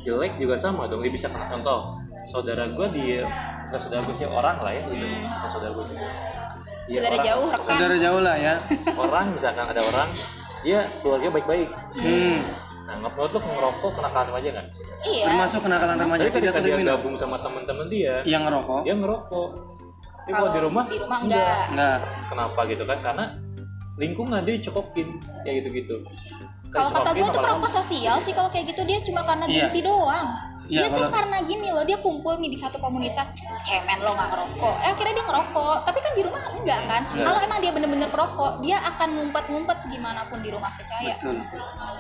jelek juga sama dong. Dia bisa kena contoh. Saudara gue di, bukan saudara gue sih orang lah ya, gitu. Hmm. bukan saudara gue. juga. Iya, saudara orang- jauh rekan saudara jauh lah ya Orang misalkan ada orang, dia keluarga baik-baik. hmm. Nah, menurut lu ngerokok kenakalan remaja kan? iya termasuk kenakalan remaja Tapi tidak ketika dia kriminal gabung sama teman-teman dia, yang ngerokok dia ngerokok. Tapi kalau Kalau di rumah, Iya. di rumah enggak enggak Kenapa gitu kan? Karena lingkungan dia dicekokin ya gitu-gitu. kalau Dicekokin kata gue tuh lama-lama. perokok sosial sih kalau kayak gitu dia cuma karena Iya. gengsi doang Iya, dia tuh kalau- karena gini loh dia kumpul nih di satu komunitas "Cek, cemen lo nggak ngerokok eh akhirnya dia ngerokok tapi kan di rumah enggak kan Enggak. kalau emang dia bener-bener perokok dia akan ngumpet-ngumpet segimanapun di rumah percaya betul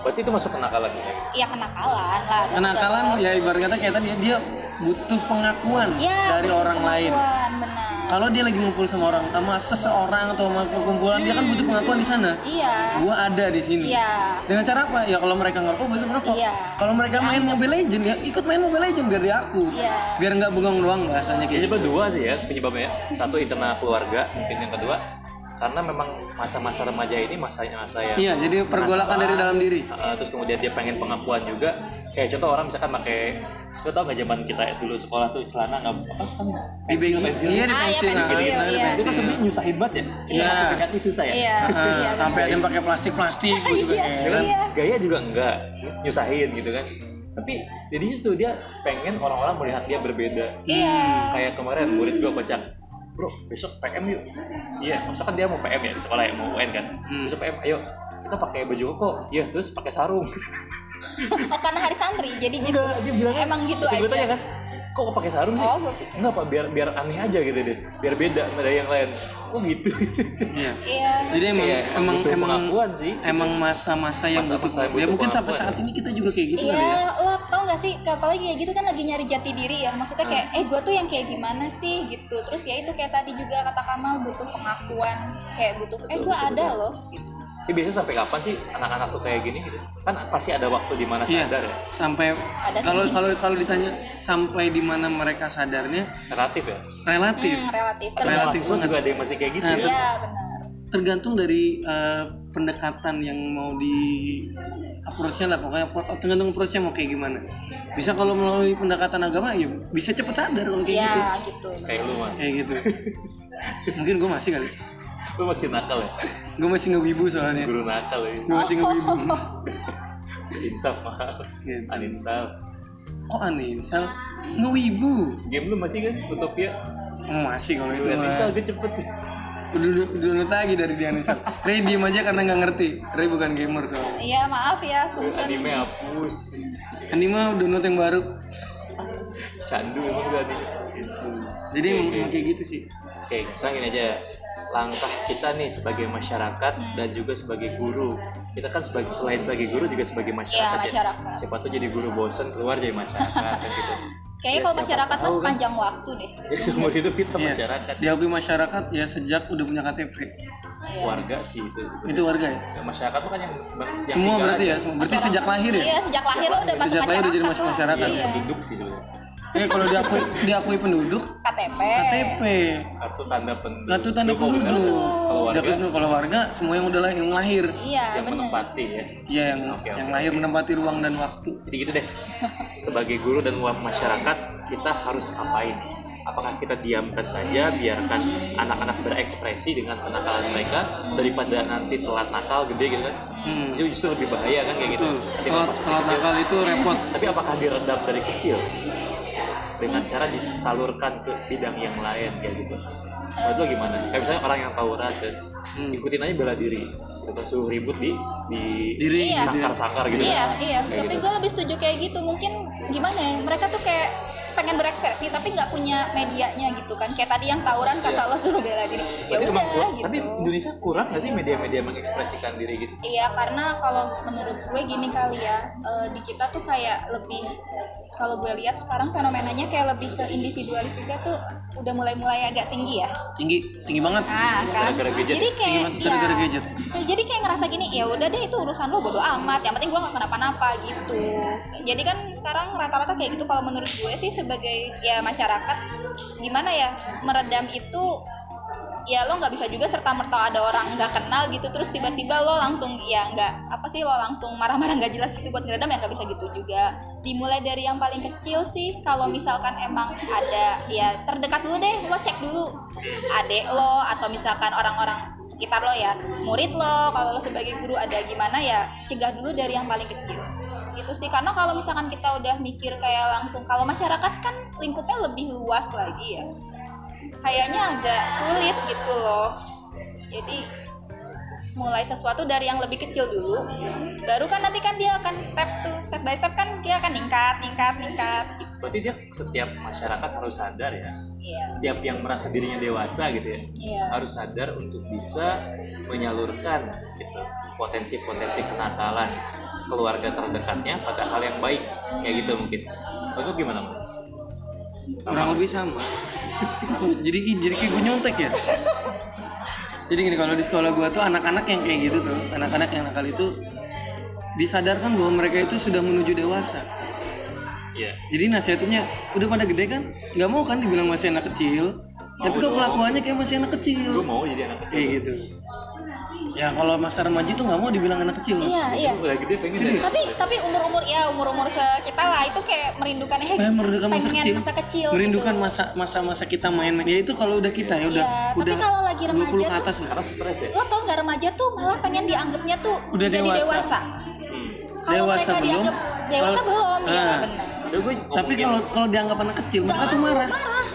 Berarti itu masuk kenakalan ya? ya kenakalan lah bener. kenakalan ya ibarat kata kayak tadi dia butuh pengakuan Ya, dari orang lain pengakuan, benar kalau dia lagi ngumpul sama orang sama seseorang atau sama kumpulan dia kan butuh pengakuan di sana iya gua ada di sini iya dengan cara apa ya kalau mereka ngerokok gue ikut ngerokok Iya. kalau mereka main Mobile Legend ya ikut main Mobile Legend biar dia aku Iya. biar nggak bengong doang Ya bahasanya kayak gitu coba dua sih ya penyebabnya. ya. Satu internal keluarga, mungkin yang kedua karena memang masa-masa remaja ini masanya masa yang iya jadi pergolakan dari dalam diri Uh, terus kemudian dia pengen pengakuan juga kayak contoh orang misalkan pakai lo tau gak zaman kita dulu sekolah tuh celana nggak apa kan di bengong pensil. iya Ah, iya, di pensil nah, pensil, gitu, nah, di iya. itu kan sebenarnya nyusahin banget ya Iya. masuk ke kaki susah ya iya Ah, iya benar. Iya. sampai ada yang pakai plastik plastik gitu Ya kan kan? gaya juga enggak nyusahin gitu kan tapi jadi situ dia pengen orang-orang melihat dia berbeda iya kayak kemarin murid gua kocak bro besok PM yuk iya masa kan dia mau PM ya di sekolah ya mau UN kan Hmm. besok PM ayo kita pakai baju koko iya terus pakai sarung oh, karena hari santri jadi gitu enggak dia bilang emang gitu Terus gua aja tanya kan kok kok pakai sarung sih oh gue pikir enggak pak biar biar aneh aja gitu deh biar beda dari yang lain kok gitu iya iya jadi emang Kayak emang butuh emang pengakuan sih emang masa-masa yang Masa-masa yang butuh pengakuan. ya butuh mungkin sampai pengakuan. saat ini kita juga kayak gitu kali ya Iya, lo tau gak sih, kayak apalagi kayak gitu kan lagi nyari jati diri ya Maksudnya kayak, eh gue tuh yang kayak gimana sih gitu Terus ya itu kayak tadi juga kata Kamal butuh pengakuan Kayak butuh, eh Betul, gue betul, ada betul. loh gitu Ini biasanya sampai kapan sih anak-anak tuh kayak gini gitu? Kan pasti ada waktu di mana Iya. sadar ya. sampai Ada kalau tuh. kalau kalau ditanya sampai di mana mereka sadarnya Relatif ya. relatif Hmm, relatif, Ada tergantung Relatif mahasiswa banget. juga ada yang masih kayak gitu. Nah, ya. Iya, benar tergantung dari eh, pendekatan yang mau di approach-nya lah pokoknya pro- tergantung approach-nya mau kayak gimana bisa kalau melalui pendekatan agama ya bisa cepet sadar kalau kayak Iya, gitu gitu, Kayak lu mah. kayak gitu mungkin gue masih kali Lu masih nakal ya. gue masih ngewibu soalnya Guru nakal ya. gue masih ngewibu Insaf mahal. Gitu. Uninstall. kok aneh sal ngewibu Game lu masih kan Utopia. Oh, masih kalau itu Udah uninstall mah dia cepet. udah udah lagi dari dia Anisal Ray diem aja karena nggak ngerti Ray bukan gamer soalnya Iya, maaf ya, Sultan Anime hapus. ini mah download yang baru Candu emang tuh anime. Gitu. jadi emang emang kayak gitu sih Oke, sekarang gini aja ya. Langkah kita nih sebagai masyarakat dan juga sebagai guru. Kita kan sebagai selain sebagai guru juga sebagai masyarakat. ya. Iya, masyarakat. Siapa tuh jadi guru bosen keluar jadi masyarakat kan gitu. Ya, Kayaknya kalau siapa masyarakat tahu mas kan. panjang waktu deh Jadi seumur hidup kita Iya. masyarakat. diakui masyarakat ya sejak udah punya KTP Iya. Warga sih itu. itu warga ya Ya, masyarakat tuh kan yang, yang semua tinggal berarti aja. ya semua. berarti sejak lahir ya Iya, sejak lahir lo udah masuk sejak lahir udah jadi masuk masyarakat Iya, lah. masyarakat yang Iya. penduduk sih sebenarnya. eh kalau diakui diakui penduduk KTP KTP Kartu tanda penduduk. kartu tanda Kalau penduduk Kalau warga Diakui penduduk. kalau warga semua yang udah lahir yang lahir Iya, yang benar menempati ya. ya yang Oke, oke. yang lahir menempati ruang dan waktu Jadi gitu deh. Sebagai guru dan wa- masyarakat, kita harus ngapain? Apakah kita diamkan saja, biarkan anak-anak berekspresi dengan kenakalan mereka daripada nanti telat nakal gede gitu kan? hmm. Itu justru lebih bahaya kan kayak gitu. betul Ketika telat masih telat kecil. nakal itu repot Tapi apakah diredam dari kecil dengan cara disalurkan ke bidang yang lain kayak gitu? Menurut lo gimana? Kayak misalnya orang yang tawuran kan, Hmm. ikutin aja bela diri, gitu kan suruh ribut di di diri Iya. gitu ya. sangkar-sangkar gitu. Iya, iya. Kayak tapi gitu. gue lebih setuju kayak gitu. Mungkin gimana ya? Mereka tuh kayak pengen berekspresi tapi nggak punya medianya gitu kan. Kayak tadi yang tawuran kata lo suruh bela diri. Ya Iya. Berarti emang udah kurang- gitu. Tapi Indonesia kurang nggak sih media-media mengekspresikan diri gitu? Iya, karena kalau menurut gue gini kali ya, eh, di kita tuh kayak lebih kalau gue lihat sekarang fenomenanya kayak lebih ke individualistisnya tuh udah mulai-mulai agak tinggi ya. tinggi tinggi banget Ah, kan. Gara-gara gadget. Jadi kayak Tinggi banget gara-gara ya, gadget. kayak- jadi kayak ngerasa gini, ya udah deh itu urusan lo bodo amat, yang penting gua gak kenapa-napa gitu. Jadi kan sekarang rata-rata kayak gitu kalau menurut gue sih sebagai ya masyarakat gimana ya meredam itu ya lo nggak bisa juga serta merta ada orang nggak kenal gitu terus tiba-tiba lo langsung ya nggak apa sih lo langsung marah-marah nggak jelas gitu buat ngeredam ya nggak bisa gitu juga dimulai dari yang paling kecil sih kalau misalkan emang ada ya terdekat dulu deh lo cek dulu adek lo atau misalkan orang-orang sekitar lo ya murid lo kalau lo sebagai guru ada gimana ya cegah dulu dari yang paling kecil gitu sih karena kalau misalkan kita udah mikir kayak langsung kalau masyarakat kan lingkupnya lebih luas lagi ya kayaknya agak sulit gitu loh jadi mulai sesuatu dari yang lebih kecil dulu baru kan nanti kan dia akan step tuh step by step kan dia akan ningkat ningkat ningkat gitu. Berarti dia setiap masyarakat harus sadar ya. iya Setiap yang merasa dirinya dewasa gitu ya. iya harus sadar untuk bisa menyalurkan gitu potensi-potensi kenakalan keluarga terdekatnya pada hal yang baik kayak gitu mungkin Bagus gimana Bang? kurang lebih sama jadi jadi kayak gue nyontek ya jadi gini kalau di sekolah gue tuh anak-anak yang kayak gitu tuh anak-anak yang nakal itu disadarkan bahwa mereka itu sudah menuju dewasa Iya jadi nasihatnya udah pada gede kan nggak mau kan dibilang masih anak kecil tapi kok dong. kelakuannya kayak masih anak gue kecil mau jadi anak kayak kecil gitu ya kalau masa remaja tuh nggak mau dibilang anak kecil iya iya Gua udah gede pengen Serius? jadi- tapi tapi umur umur ya umur umur kita lah itu kayak merindukan eh Eh, merindukan masa pengen kecil. masa kecil merindukan gitu. masa masa masa kita main-main ya itu kalau udah kita ya udah Iya, tapi udah kalau lagi 20 ke remaja atas lah. karena stres ya lo tau gak remaja tuh malah pengen dianggapnya tuh Udah jadi dewasa. hmm. kalau Dewasa mereka belum. dianggap dewasa Kalau- belum ya Ah. benar Udah gua tapi ngomongin- kalau kalau dianggap anak kecil mereka tuh marah marah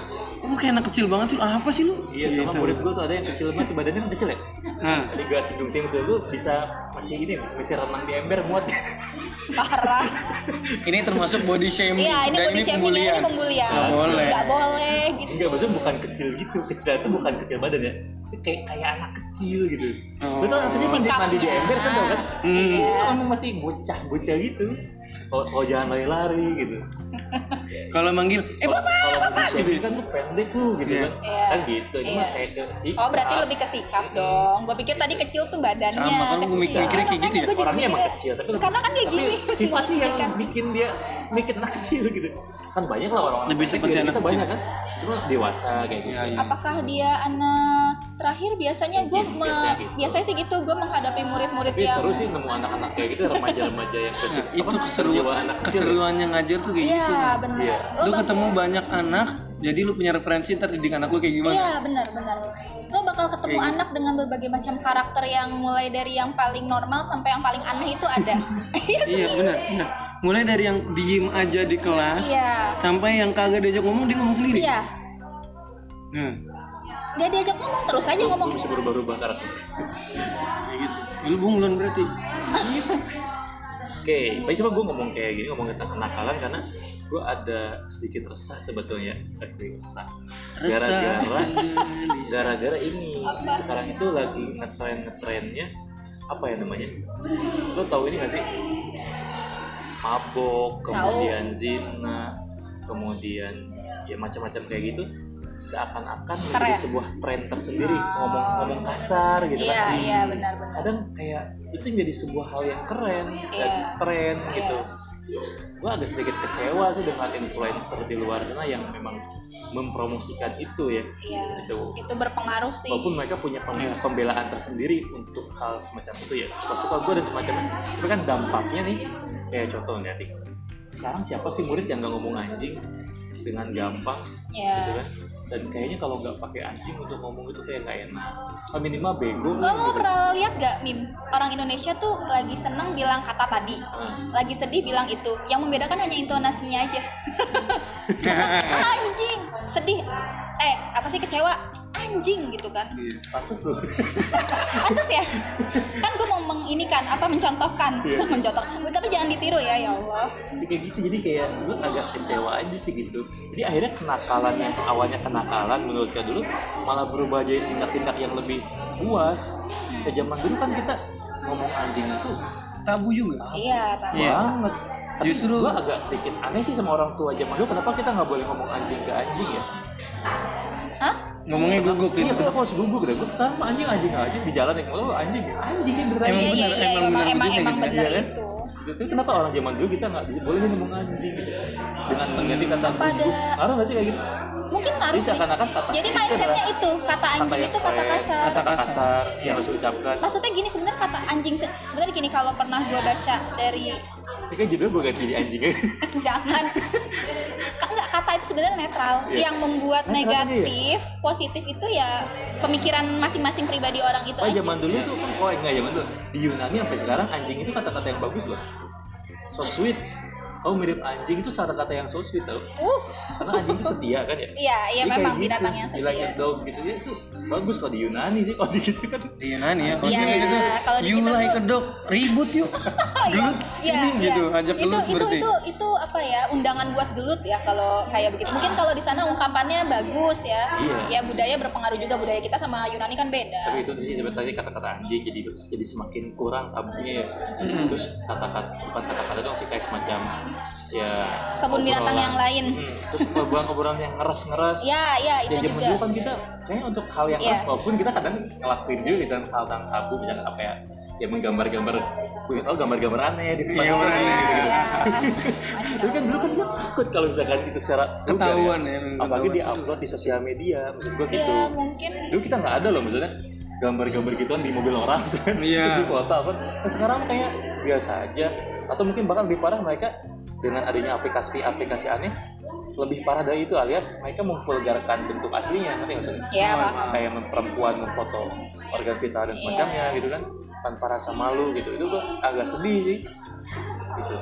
kamu kayak anak kecil banget sih apa sih lu Iya sama Gitu. murid gue tuh ada yang kecil banget tuh, badannya kan kecil ya Nah, Liga singgung singgung tuh gue bisa masih gini masih bisa renang di ember muat parah ini termasuk body shaming Iya, ini dan body shaming ini pembulian. Nggak boleh. Nggak boleh gitu. Enggak maksudnya bukan kecil gitu Kecil itu bukan kecil badan ya Tapi kayak, kayak anak kecil gitu Oh. Betul anak kecil mandi, mandi di Sikapnya. ember kan tau kan Hmm. Iya. Emang masih bocah-bocah gitu Kalau kalau jangan lari-lari gitu kalau manggil eh Kalau- bapak Kalau bapak manusia gitu kan lu pendek lu gitu Iya. kan Iya. Kan gitu Cuma Iya. kayak ke sikap Oh, berarti lebih ke sikap dong. Gue pikir tadi kecil tuh badannya Sama, kan gua kecil. mikir- mikirnya kayak gitu ya, Makanya gua juga Orangnya emang mikirnya- kecil tapi karena kan dia tapi gini. Sifatnya yang Kan. bikin dia mikir anak kecil gitu Kan banyak lah orang-orang Lebih pendek seperti kayak anak kita kecil. banyak kan Cuma dewasa kayak gitu Iya, iya. Apakah dia anak terakhir biasanya gue Mungkin, me... biasanya gitu. biasanya sih gitu gue menghadapi murid-murid Tapi yang seru sih nemu anak-anak kayak gitu remaja-remaja yang Nah, kesik itu apa, jiwa keseruan anak kecil ya. keseruannya ngajar tuh kayak gitu Iya, Iya. benar. lu ketemu banyak anak jadi lu punya referensi ntar didik anak lu kayak gimana Iya benar benar. Lo bakal ketemu Kayak gitu. anak dengan berbagai macam karakter yang mulai dari yang paling normal sampai yang paling aneh itu ada. Iya. iya benar benar mulai dari yang diem aja di kelas Iya. sampai yang kagak diajak ngomong dia ngomong sendiri Iya. nah Dia diajak ngomong terus aja ngomong. Bisa berubah-ubah karakter. kayak gitu lu bunglon berarti Oke, tapi coba gue ngomong kayak gini ngomong tentang kenakalan karena gue ada sedikit resah sebetulnya Eh, resah. Gara-gara gara-gara ini sekarang itu lagi ngetren ngetrennya apa ya namanya? Lo tahu ini gak sih? Mabok, kemudian zina, kemudian ya macam-macam kayak gitu seakan-akan menjadi Tren. sebuah tren tersendiri ngomong ngomong kasar gitu Iya kan iya benar benar. kadang kayak itu menjadi sebuah hal yang keren dan Iya. tren gitu gue agak sedikit kecewa sih dengan influencer di luar sana yang memang mempromosikan itu ya Iya. Itu. Itu berpengaruh sih. walaupun mereka punya pem- Iya. pembelaan tersendiri untuk hal semacam itu ya suka-suka gue dan semacamnya tapi kan dampaknya nih kayak contohnya nih sekarang siapa sih murid yang gak ngomong anjing dengan gampang gitu Iya. kan dan kayaknya kalau nggak pakai anjing untuk ngomong itu kayak gak enak Ah, minimal bego Lo, lah lo gitu. pernah lihat gak mim orang Indonesia tuh lagi seneng bilang kata tadi, Ah. lagi sedih bilang itu. Yang membedakan hanya intonasinya aja. Seneng, anjing, sedih, eh apa sih kecewa, anjing gitu kan. Iya. pantes loh Pantes ya. Kan gue mau menginikan apa mencontohkan, Iya. mencontohkan. Tapi jangan ditiru ya ya Allah. Jadi kayak gitu jadi kayak gue agak kecewa aja sih gitu jadi akhirnya kenakalan yang awalnya kenakalan menurut gue dulu malah berubah jadi tindak-tindak yang lebih puas Hmm. ya zaman dulu kan kita ngomong anjing itu tabu juga Iya, tapi Iya. banget tapi Justru- gue agak sedikit aneh sih sama orang tua zaman dulu kenapa kita nggak boleh ngomong anjing ke anjing ya Hah? ngomongnya gugup iya gitu kenapa harus gugup deh gue sama anjing anjing anjing di jalan yang ngomong anjing ya anjing ini beneran Emang Iya, anjing. iya, benar, iya, emang emang benar emang begitu emang gitu, benar ya iya, kan? itu. Itu kenapa orang zaman dulu kita nggak bisa- bolehin ngomong anjing gitu dengan mengganti kata Apa ada- Ada nggak sih kayak gitu? mungkin ngaruh Jadi sih seakan-akan kata jadi mindsetnya itu kata anjing yang itu kata jelek, kasar kata kasar Iya. yang harus ucapkan. maksudnya gini sebenarnya kata anjing se- sebenarnya gini kalau pernah gue baca dari Ini kan judul gue ganti jadi anjing. jangan Ka- enggak kata itu sebenarnya netral Iya. yang membuat Netral aja ya? negatif positif itu ya pemikiran masing-masing pribadi orang itu Oh aja zaman dulu tuh kan oh enggak zaman dulu di Yunani sampai sekarang anjing itu kata-kata yang bagus loh. So sweet. Oh mirip anjing itu kata-kata yang so sweet tau. uh Karena anjing itu setia kan ya. iya iya Jadi memang kayak gitu, binatang yang you like a setia dog gitu ya itu bagus kalau di Yunani sih kalau di gitu kan. di Yunani ya kalau Iya, sini gitu kalau di you kita like tuh- a dog ribut yuk gelut Iya, sini iya. gitu ajak itu, gelut itu, berarti itu, itu apa ya undangan buat gelut ya kalau kayak begitu. Mungkin kalau di sana ungkapannya bagus ya. Iya. Ya budaya berpengaruh juga budaya kita sama Yunani kan Tapi beda. itu sih sebenarnya kata-kata anjing jadi jadi semakin kurang tabunya ya. Mm. Terus kata-kata bukan kata-kata dong sih kayak semacam ya Kebun binatang yang obrolan. lain. Mm, Terus obrolan-obrolan yang ngeres-ngeres. Ya, ya ya itu zaman juga. dulu kan kita kayaknya untuk hal yang Iya. keras maupun kita kadang ngelakuin juga misalnya hal yang tabu misalnya apa ya ya menggambar-gambar wih, oh gambar-gambar aneh di tempat Iya, orang aneh, gitu gitu Ya. tapi kan Iya, dulu kan gue takut kalau misalkan itu secara vulgar Ketahuan ya, apalagi ketahuan. di upload di sosial media maksud gue gitu Ya, mungkin dulu kita nggak ada loh maksudnya gambar-gambar gituan di mobil orang misalkan, Iya. terus di foto apa nah, sekarang kayak biasa aja atau mungkin bahkan lebih parah mereka dengan adanya aplikasi-aplikasi aneh lebih parah dari itu alias mereka memvulgarkan bentuk aslinya ngerti nggak maksudnya ya paham. kayak men- perempuan memfoto organ vital dan semacamnya gitu kan tanpa rasa malu gitu itu tuh agak sedih sih gitu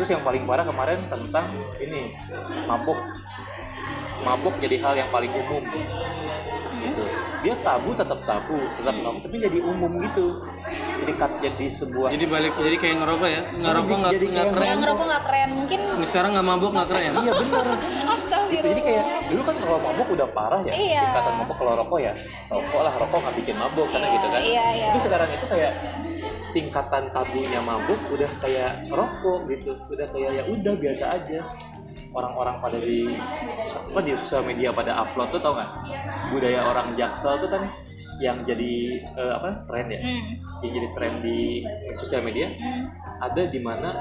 terus yang paling parah kemarin tentang ini mabuk mabuk jadi hal yang paling umum Hmm. gitu dia tabu tetap tabu tetap tabu tapi jadi umum gitu jadi kat- jadi sebuah jadi balik jadi kayak ngerokok ya ngerokok nggak Jadi nggak kayak keren Yang ngerokok nggak keren mungkin sekarang nggak mabuk nggak keren iya bener gitu astagfirullah. Iya. jadi kayak dulu kan kalau mabuk udah parah ya Iya. ikatan mabuk kalau rokok ya rokok lah rokok nggak bikin mabuk karena Iya, gitu kan iya, iya. tapi sekarang itu kayak tingkatan tabunya mabuk udah kayak rokok gitu udah kayak ya udah biasa aja orang-orang pada di apa di sosial media pada upload tuh tau nggak budaya orang jaksel tuh kan yang jadi eh, apa tren ya Hmm, yang jadi tren di sosial media hmm. ada di mana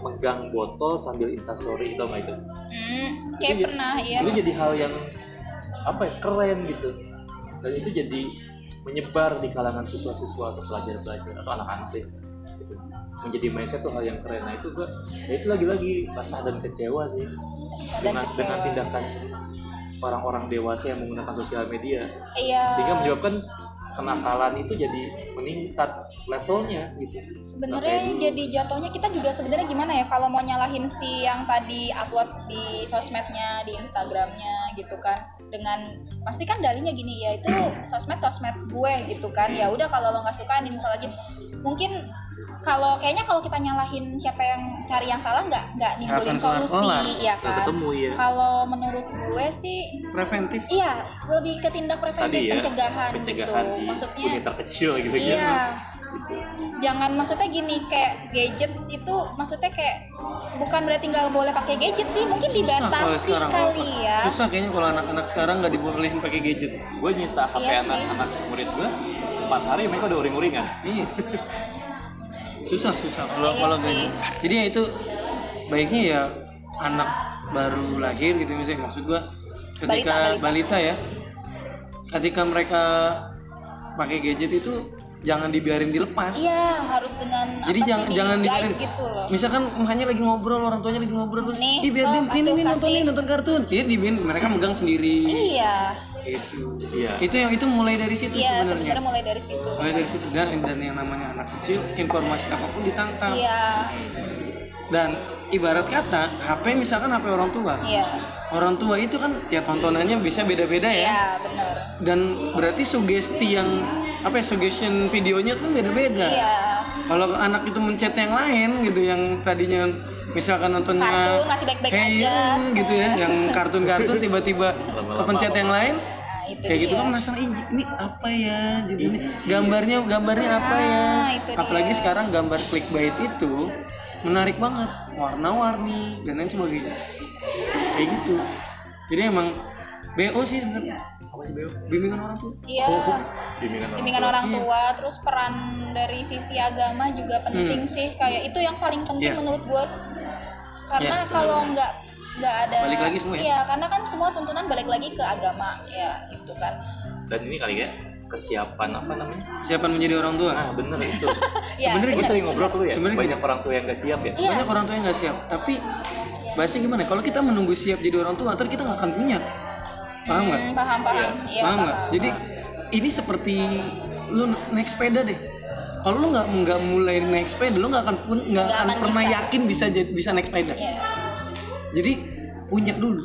megang botol sambil instastory tau nggak itu Hmm, kayak Iya. pernah ya. itu jadi hal yang apa ya keren gitu dan itu jadi menyebar di kalangan siswa-siswa atau pelajar-pelajar atau anak-anak deh gitu. menjadi mindset tuh hal yang keren nah itu gua ya itu lagi-lagi resah dan kecewa sih Kesal dan dengan, dengan kecewa. tindakan orang-orang dewasa yang menggunakan sosial media Iya. sehingga menyebabkan kenakalan itu jadi meningkat levelnya gitu Sebenarnya Makanya- jadi jatuhnya kita juga sebenarnya gimana ya kalau mau nyalahin si yang tadi upload di sosmednya, di Instagramnya gitu kan dengan pasti kan dalihnya gini ya itu sosmed sosmed gue gitu kan ya udah kalau lo nggak suka install aja mungkin kalau kayaknya kalau kita nyalahin siapa yang cari yang salah nggak nggak nimbulin akan kelar kelar. solusi ya Nggak kan ketemu ya kalau menurut gue sih preventif iya lebih ke tindak preventif tadi ya pencegahan, pencegahan gitu di maksudnya unit terkecil gitu Iya. Jangan maksudnya gini kayak gadget itu maksudnya kayak bukan berarti nggak boleh pakai gadget sih, mungkin kalau dibatasi sekarang kali ya. susah kayaknya kalau anak-anak sekarang nggak dibolehin pakai gadget gue nyita HP Iya sih. anak-anak murid gue empat hari mereka udah ya? uring-uringan iya susah susah kalau Iya kalau sih. kayak gitu. jadi ya itu baiknya ya anak baru lahir gitu misalnya maksud gua ketika Balita, balita, ya ketika mereka pakai gadget itu jangan dibiarin dilepas Iya, harus dengan Jadi apa jangan- sih, jangan di-guide dibiarin. gitu loh. misalkan emaknya lagi ngobrol orang tuanya lagi ngobrol terus Nih, ih biar oh, dia ini kasih, nih nonton kasih." nih nonton kartun iya dibiarin mereka megang sendiri Iya. gitu Iya. itu yang itu mulai dari situ Iya, sebenarnya sebenarnya mulai dari situ. mulai dari situ dan dan yang namanya anak kecil informasi apapun ditangkap Iya, dan ibarat kata HP misalkan HP orang tua iya. orang tua itu kan ya tontonannya bisa beda-beda ya Iya, benar. dan berarti sugesti yang apa ya suggestion videonya tuh beda-beda Iya. kalau anak itu mencet yang lain gitu yang tadinya misalkan nontonnya Kartun masih baik-baik aja. Hey Yan, gitu ya yang kartun-kartun tiba-tiba Lama-lama kepencet yang lain Nah, itu kayak gitu dia. kan penasaran "Ih, ini apa ya jadi ini Iya. gambarnya gambarnya apa ya Ah, itu dia. apalagi sekarang gambar clickbait itu menarik banget warna-warni dan lain sebagainya kayak gitu jadi emang BO sih sebenarnya apa sih Beo? bimbingan orang tuh Iya. bimbingan orang bimbingan tua. orang Iya. tua terus peran dari sisi agama Hmm. juga penting sih kayak itu yang paling penting Iya. menurut gue karena Iya. kalau nggak nggak ada Balik lagi semua ya? iya karena kan semua tuntunan balik lagi ke agama ya gitu kan Dan ini kali ya kesiapan apa namanya? siapa yang menjadi orang tua Ah bener itu. ya, Sebenarnya Gue bener. sering ngobrol dulu ya. Sebenarnya Banyak gini. orang tua yang gak siap ya. Iya. banyak orang tua yang nggak siap tapi bahasnya gimana kalau kita menunggu siap jadi orang tua ntar kita nggak akan punya paham nggak Hmm, paham paham iya paham nggak jadi ini seperti lu naik sepeda deh kalau lu nggak nggak mulai naik sepeda lu nggak akan pun nggak Nggak akan akan pernah bisa. yakin bisa jadi- bisa naik sepeda Iya. jadi punya dulu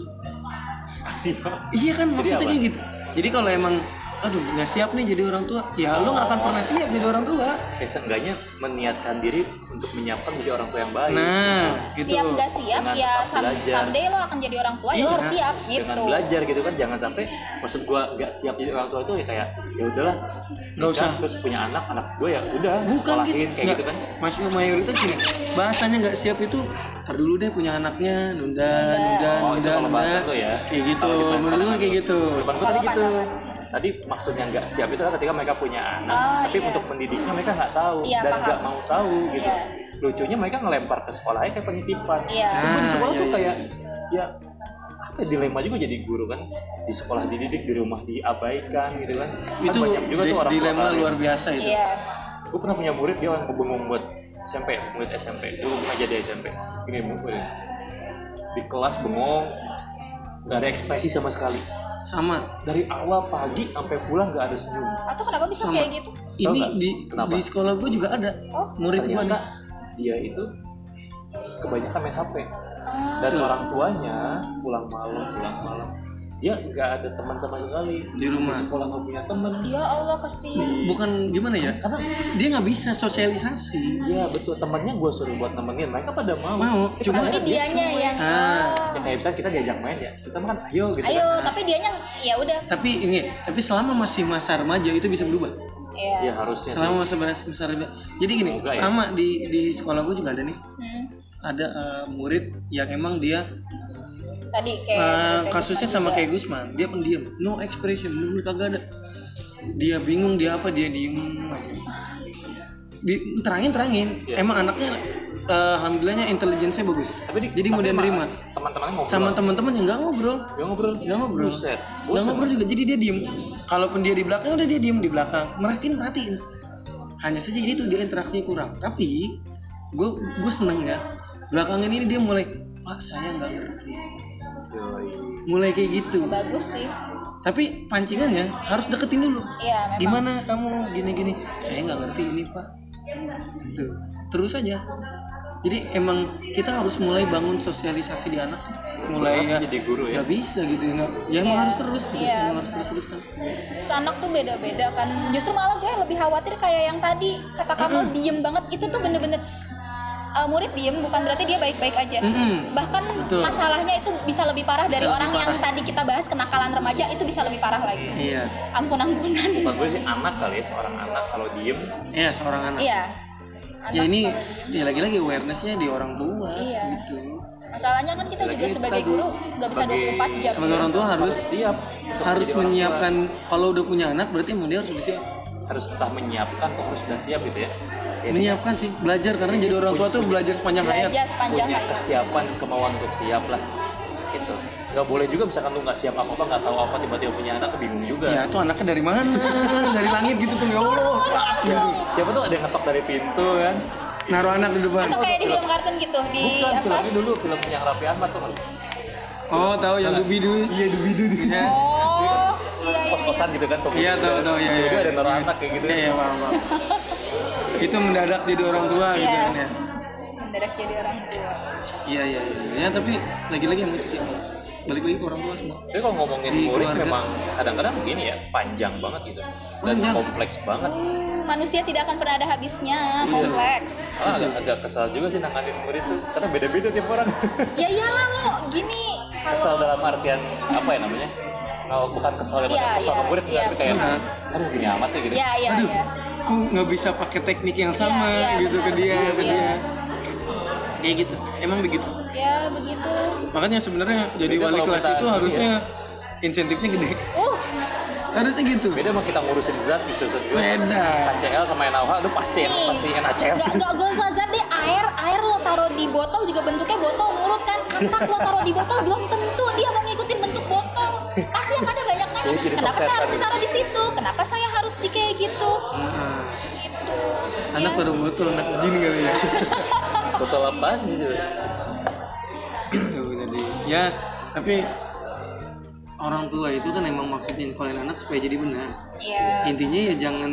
Kasih iya kan maksudnya apa? kayak gitu jadi kalau emang aduh nggak siap nih jadi orang tua ya lu nggak akan pernah siap jadi orang tua Ya seenggaknya meniatkan diri untuk menyiapkan menjadi orang tua yang baik. nah gitu siap gak siap Dengan ya tetap some- belajar. someday lo akan jadi orang tua ya Iya. lo harus siap Dengan gitu belajar gitu kan jangan sampai maksud gua gak siap jadi orang tua itu ya kayak ya udahlah Nggak nikah, usah. terus punya anak anak gue ya udah bukan sekolahin gitu kayak gitu kan masih mayoritas gini bahasanya nggak siap itu ntar dulu deh punya anaknya nunda nunda Oh, itu nunda kalau nunda bahasa tuh ya. kayak gitu Kalau di depan kan menurut gue pandangan kayak lu. gitu Depan gua Kalau tadi gitu pandangan. tadi maksudnya nggak siap itu adalah ketika mereka punya anak Oh, tapi iya. untuk mendidiknya mereka nggak tahu Iya, dan paham. nggak mau tahu gitu Iya. lucunya mereka ngelempar ke sekolahnya kayak penitipan Iya. Cuma di Ah, sekolah iya, tuh iya. kayak ya apa ya, dilema juga jadi guru kan di sekolah dididik di rumah diabaikan gitu kan Kan itu banyak juga di- tuh orang tua ya. dilema kalian. luar biasa itu iya gue pernah punya murid dia orang bengong buat SMP murid SMP dulu pernah jadi SMP gini murid di kelas bengong nggak ada ekspresi sama sekali sama dari awal pagi sampai pulang nggak ada senyum atau kenapa bisa Sama. kayak gitu ini nggak? di Kenapa? di sekolah gue juga ada Oh. murid gue nih ternyata dia itu kebanyakan main HP Ah, dan Iya. orang tuanya pulang malam pulang malam dia nggak ada teman sama sekali di di rumah sekolah nggak punya teman ya Allah kesian Di- bukan gimana ya karena dia nggak bisa sosialisasi ya betul temannya gue suruh buat nemenin mereka pada mau Mau, Eh, cuma- padahal tapi dia dianya cuek. yang Oh. Ah. ya kayak misalnya kita diajak main ya kita makan ayo gitu ayo kan tapi dianya ya udah tapi ini tapi selama masih masa remaja itu bisa berubah Iya. ya ya harusnya sih. selama masa masa remaja jadi gini Semoga ya. sama di di sekolah gue juga ada nih Hmm. ada eh, murid yang emang dia tadi kayak Eh, kayak kasusnya Gusman sama juga. kayak Gusman dia pendiam no expression bener kagak ada dia bingung dia apa dia diem aja di terangin terangin Iya. emang anaknya eh, alhamdulillahnya intelijensinya bagus tapi di- jadi tapi mau dia mah nerima teman-temannya ngobrol sama teman-teman yang nggak ngobrol Gak ngobrol Nggak ngobrol. Buset. nggak Bosen. ngobrol juga jadi dia diem kalaupun dia di belakang udah dia diem di belakang merhatiin merhatiin hanya saja itu dia interaksinya kurang tapi gue gue seneng ya belakangan ini dia mulai pak saya nggak ngerti Doi. mulai kayak gitu bagus sih tapi pancingannya harus deketin dulu iya memang gimana kamu gini-gini saya nggak ngerti ini pak gitu terus aja jadi emang kita harus mulai bangun sosialisasi di anak tuh. Berat mulai ya sih jadi guru ya nggak bisa gitu nggak ya emang Iya, harus terus gitu iya. emang harus terus terusan Terus anak tuh beda-beda kan justru malah gue lebih khawatir kayak yang tadi kata kamu diem banget itu tuh bener-bener uh, murid diem bukan berarti dia baik-baik aja Mm-mm. bahkan Hmm. Betul. masalahnya itu bisa lebih parah dari lebih orang yang parah. tadi kita bahas kenakalan remaja itu bisa lebih parah lagi iya ampun-ampunan Buat gue sih anak kali ya seorang anak kalau diem iya seorang anak iya ya Anak ini kalau diem. ya lagi-lagi awarenessnya di orang tua Iya. gitu masalahnya kan kita juga Lagi sebagai tadi, guru nggak bisa sebagai- 24 jam sebagai ya. orang tua harus harus siap untuk harus menjadi orang menyiapkan kalau udah punya anak berarti emang dia harus udah siap tua. harus entah menyiapkan atau harus sudah siap gitu ya Jadi menyiapkan sih belajar karena jadi orang tua tuh belajar sepanjang hayat Iya, belajar sepanjang punya hayat kesiapan kemauan untuk siap lah gitu nggak boleh juga misalkan lu nggak siap apa apa nggak tahu apa tiba-tiba punya anak bingung juga Ya tuh anaknya dari mana? dari langit gitu tuh ya Allah. Prak, gitu. siapa tuh ada yang ngetok dari pintu kan Naruh anak di depan. atau kayak di film kartun gitu di bukan apa filmnya dulu film yang Raffi Ahmad tuh kan Oh tahu yang dubi dulu. Iya dubi dulu. oh Iya. iya iya, iya kos-kosan gitu kan pembunuh Iya tahu gitu. tahu ya ya. Tiba-tiba ada naruh anak kayak gitu Iya iya paham paham. Itu mendadak jadi orang tua gitu Iya. kan ya. mendadak jadi orang tua Iya iya iya. Ya tapi lagi-lagi yang itu sih. Balik lagi ke orang tua semua. Tapi kalau ngomongin Di murid keluarga. memang kadang-kadang begini ya, panjang banget gitu. Dan Panjang. kompleks banget. Hmm, manusia tidak akan pernah ada Iya. habisnya kompleks Karena Ah, agak, agak kesal juga sih nanganin murid tuh, karena beda-beda tiap orang. ya iyalah lo gini kesal kalau dalam artian apa ya namanya? Kalau bukan kesal yang Iya, kesal ke iya, murid iya. tapi kayak Nah, aduh gini amat sih gitu. ya ya aduh, ya kok nggak bisa pakai teknik yang sama Iya, iya, gitu ke benar, dia benar, ke iya. dia. Kayak gitu. Emang begitu. ya begitu Makanya sebenarnya jadi Beda wali kalau kelas kita- itu harusnya insentifnya gede. uh harusnya gitu beda sama kita ngurusin zat gitu zat gue beda KCL sama NaOH lu pasti Nih, pasti NaCl Gak, gak usah zat deh air air lo taruh di botol juga bentuknya botol murut kan atak lo taruh di botol belum tentu dia mau ngikutin bentuk botol pasti yang ada banyak nanya Jadi jadi kenapa saya konsep harus tadi. ditaruh di situ kenapa saya harus di kayak gitu Nah, gitu anak ya baru betul anak jin kali ya botol apaan gitu gitu jadi ya tapi orang tua itu kan emang maksudnya nyekolin anak supaya jadi benar iya intinya ya jangan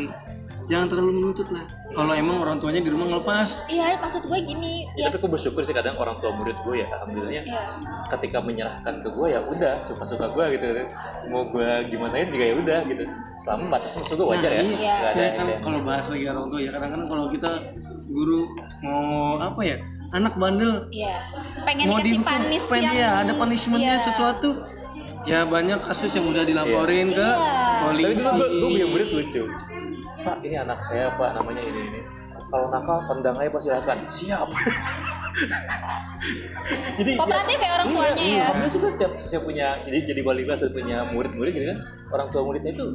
jangan terlalu menuntut lah kalau emang orang tuanya di rumah ngelepas iya maksud gue gini Ya, ya tapi gue bersyukur sih kadang orang tua murid gue ya alhamdulillahnya iya ketika menyerahkan ke gue ya udah suka suka gue gitu mau gue gimanain juga ya udah gitu selama batas maksud gue wajar ya iya. Iya. Nggak ada saya kan ini ya. kalau bahas lagi orang tua ya kadang-kadang kalau kita guru mau apa ya anak bandel iya pengen mau dikasih dihukum, panis pengen- yang iya, ada punishmentnya Iya. sesuatu ya banyak kasus yang udah dilaporin ke Iya. Tapi polisi dulu gue, gue punya murid lucu. Pak, ini anak saya pak, namanya ini ini. Kalau nakal, tendang aja pas silakan. Siap. jadi Kooperatif ya orang Iya, tuanya ya. Kami suka siap, siap punya jadi jadi wali kelas terus punya murid-murid gitu kan. Orang tua muridnya itu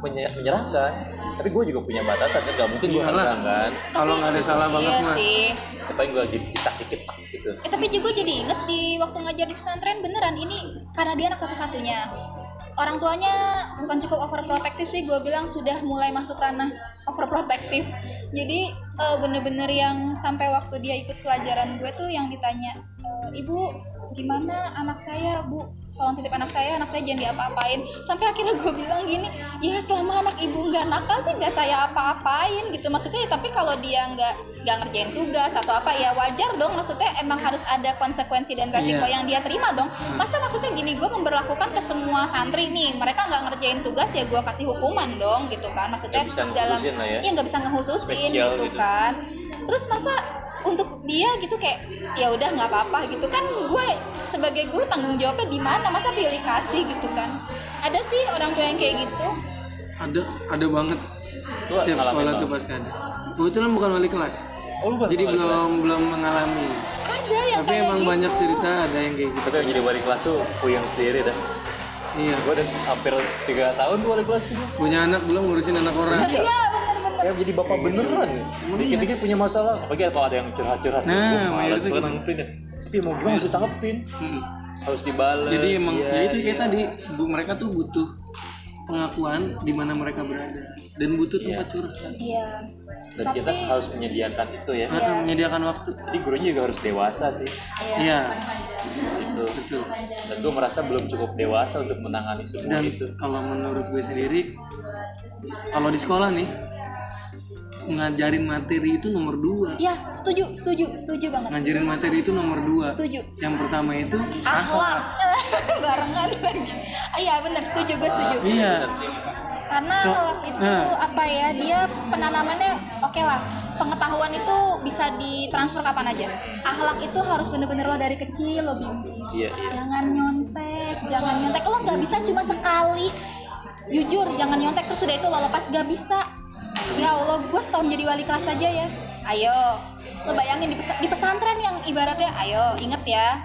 menye- menyerahkan. Tapi gue juga punya batasan kan, gak mungkin gue Iyalah. tendang kan. kalau nggak ada salah banget iya mah sih Ya, Paling gue gitu, citak dikit tak gitu. Eh, tapi juga jadi inget di waktu ngajar di pesantren beneran ini karena dia anak satu-satunya. Orang tuanya bukan cukup overprotective sih, gue bilang sudah mulai masuk ranah overprotective. Jadi eh, bener-bener yang sampai waktu dia ikut pelajaran gue tuh yang ditanya, "E, ibu gimana anak saya bu? Tolong titip anak saya, anak saya jangan diapa-apain. Sampai akhirnya gue bilang gini, ya selama anak ibu nggak nakal sih nggak saya apa-apain gitu. Maksudnya ya, tapi kalau dia nggak nggak ngerjain tugas atau apa ya wajar dong. Maksudnya emang harus ada konsekuensi dan resiko Iya. yang dia terima dong. Masa maksudnya gini gue memperlakukan ke semua santri nih, mereka nggak ngerjain tugas ya gue kasih hukuman dong gitu kan. Maksudnya Nggak bisa dalam ngekhususin lah ya. iya nggak bisa ngehususin Spesial gitu gitu. kan terus masa untuk dia gitu kayak ya udah nggak apa-apa gitu kan gue sebagai guru tanggung jawabnya di mana masa pilih kasih gitu kan ada sih orang tua yang kayak gitu ada ada banget Lu setiap ngalamin sekolah tau? tuh pasti ada kebetulan bukan wali kelas Oh, lu bukan jadi wali belum kelas. belum mengalami ada yang tapi kayak emang gitu. banyak cerita ada yang kayak gitu Tapi yang jadi wali kelas tuh puyeng sendiri dah. iya Gue udah hampir 3 tahun tuh wali kelas gitu. punya anak belum ngurusin anak orang iya bener-bener kayak Ya, jadi bapak beneran dikit-dikit punya masalah apalagi kalau Iya. ada yang curhat-curhat Nah, Gua mayoritas males banget gitu. nanggepin ya tapi mau gimana harus ditanggepin Mm. harus dibales jadi emang iya, ya itu kayak iya. tadi bu, mereka tuh butuh pengakuan di mana mereka berada dan butuh tempat curhat iya dan tapi kita harus menyediakan itu ya Mereka menyediakan waktu jadi gurunya juga harus dewasa sih iya iya gitu betul dan gue merasa belum cukup dewasa untuk menangani semua dan itu kalau menurut gue sendiri kalau di sekolah nih ngajarin materi itu nomor dua iya setuju setuju setuju banget ngajarin materi itu nomor dua setuju yang pertama itu akhlak barengan lagi Ah, iya bener setuju gue setuju iya karena So- kalau itu nah. apa ya dia penanamannya oke lah pengetahuan itu bisa ditransfer kapan aja akhlak itu harus bener-bener lo dari kecil lo bimbing iya iya jangan nyontek jangan nyontek lo nggak bisa cuma sekali jujur jangan nyontek terus sudah itu lo lepas gak bisa ya allah gue setahun jadi wali kelas aja ya ayo lo bayangin di, pesa- di pesantren yang ibaratnya ayo inget ya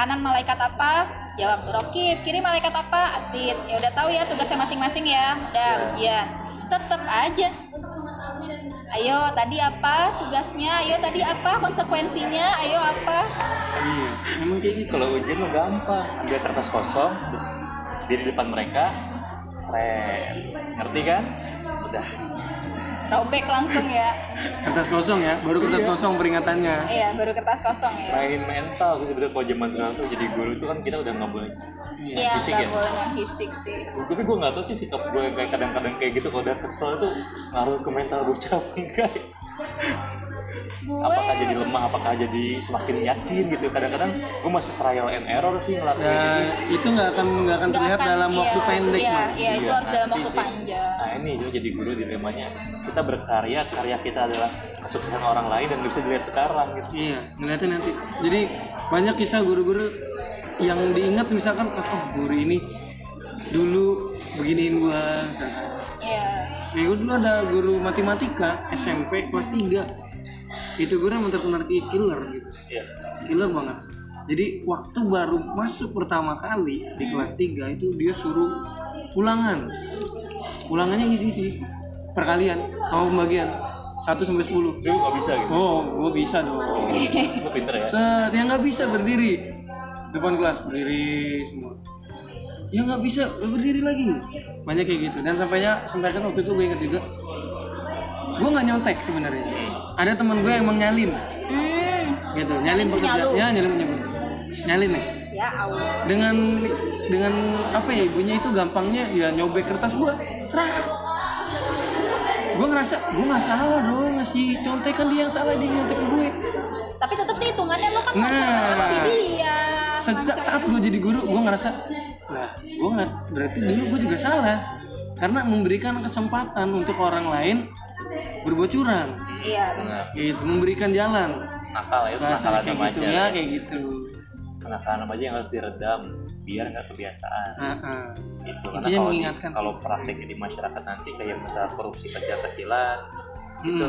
kanan malaikat apa jawab rokib kiri malaikat apa atit ya udah tahu ya tugasnya masing-masing ya udah ujian tetep aja ayo tadi apa tugasnya ayo tadi apa konsekuensinya ayo apa iya emang kayak gitu kalau ujian mah gampang ambil kertas kosong diri depan mereka seret ngerti kan udah robek langsung ya kertas kosong ya baru kertas kosong peringatannya iya baru kertas kosong ya main mental sih sebetulnya kalau zaman sekarang tuh jadi guru itu kan kita udah nggak boleh iya fisik ya? nggak boleh non fisik sih tapi gue nggak tahu sih sikap gue yang kayak kadang-kadang kayak gitu kalau udah kesel tuh ngaruh ke mental bocah apa enggak ya? gue apakah jadi lemah apakah jadi semakin yakin gitu kadang-kadang gue masih trial and error sih ngelakuin gitu. Nah, Iya, ini. itu nggak akan nggak akan nggak terlihat akan- dalam waktu iya, pendek iya, Mak. iya itu Iya, harus dalam nanti waktu sih. panjang nah ini sih jadi guru dilemanya kita berkarya karya kita adalah kesuksesan orang lain dan nggak bisa dilihat sekarang gitu Iya, ngeliatnya nanti. Jadi banyak kisah guru-guru yang diingat misalkan oh, oh, guru ini dulu beginiin gua misalkan. iya Ya gua dulu ada guru matematika SMP kelas 3. Itu guru yang terkenal ki- killer gitu. ya Killer banget. Jadi waktu baru masuk pertama kali di kelas 3 itu dia suruh ulangan ulangannya isi isi perkalian sama pembagian 1 sampai 10 Lu nggak bisa gitu. oh gue bisa dong Lu pinter ya. Set, yang nggak bisa berdiri depan kelas berdiri semua. Yang nggak bisa berdiri lagi. Banyak kayak gitu. Dan sampainya sampaikan waktu itu gue inget juga. Gue nggak nyontek sebenarnya. Ada teman gue yang emang nyalin, Hmm, gitu. Nyalin Nyalin punya pekerjaan. lu. Ya nyalin punya gue. Nyalin nih. ya Allah. Dengan dengan apa ya ibunya itu gampangnya ya nyobek kertas gue. Serah. Gue ngerasa gue nggak salah dong ngasih contekan dia yang salah dia nyontek ke gue. Tapi tetap sih hitungannya lo kan Nah. nah. si dia. sejak Lancar. saat gue jadi guru gue ngerasa lah gue nggak berarti dulu gue juga salah karena memberikan kesempatan untuk orang lain berbuat curang Iya. Benar. gitu memberikan jalan Nakal ya, itu bahasa kenakalan kayak remaja. gitu ya kayak gitu Kenakalan remaja yang harus diredam biar nggak kebiasaan. Ah, ah. Gitu. Intinya Karena kalau di- mengingatkan. kalau prakteknya di masyarakat nanti kayak masalah korupsi kecil-kecilan gitu.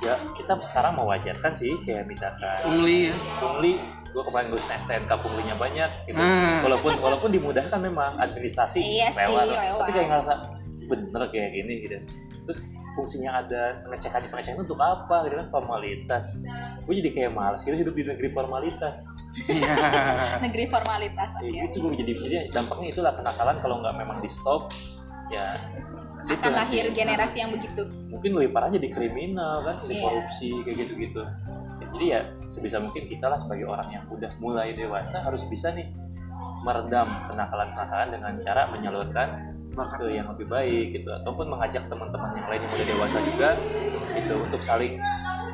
Ya kita sekarang mewajarkan sih kayak Hmm, misalkan pungli ya pungli gue kemarin gue STNK punglinya banyak gitu. Ah. Walaupun walaupun dimudahkan memang administrasi Iya sih, lewat. tapi kayak ngerasa bener kayak gini gitu. Terus fungsinya ada pengecekan pengecekan untuk apa gitu kan formalitas gue jadi kayak males gitu hidup di negeri formalitas Iya. Negeri formalitas oke. Ya, itu jadi jadi dampaknya itulah kenakalan kalau nggak memang di stop ya situ Akan nanti. lahir generasi yang begitu. mungkin lebih parah jadi kriminal kan jadi Iya. korupsi kayak gitu gitu jadi ya sebisa mungkin kita lah sebagai orang yang udah mulai dewasa harus bisa nih meredam kenakalan-kenakalan dengan cara menyalurkan Bakat. ke yang lebih baik gitu ataupun mengajak teman-teman yang lain yang udah dewasa juga itu untuk saling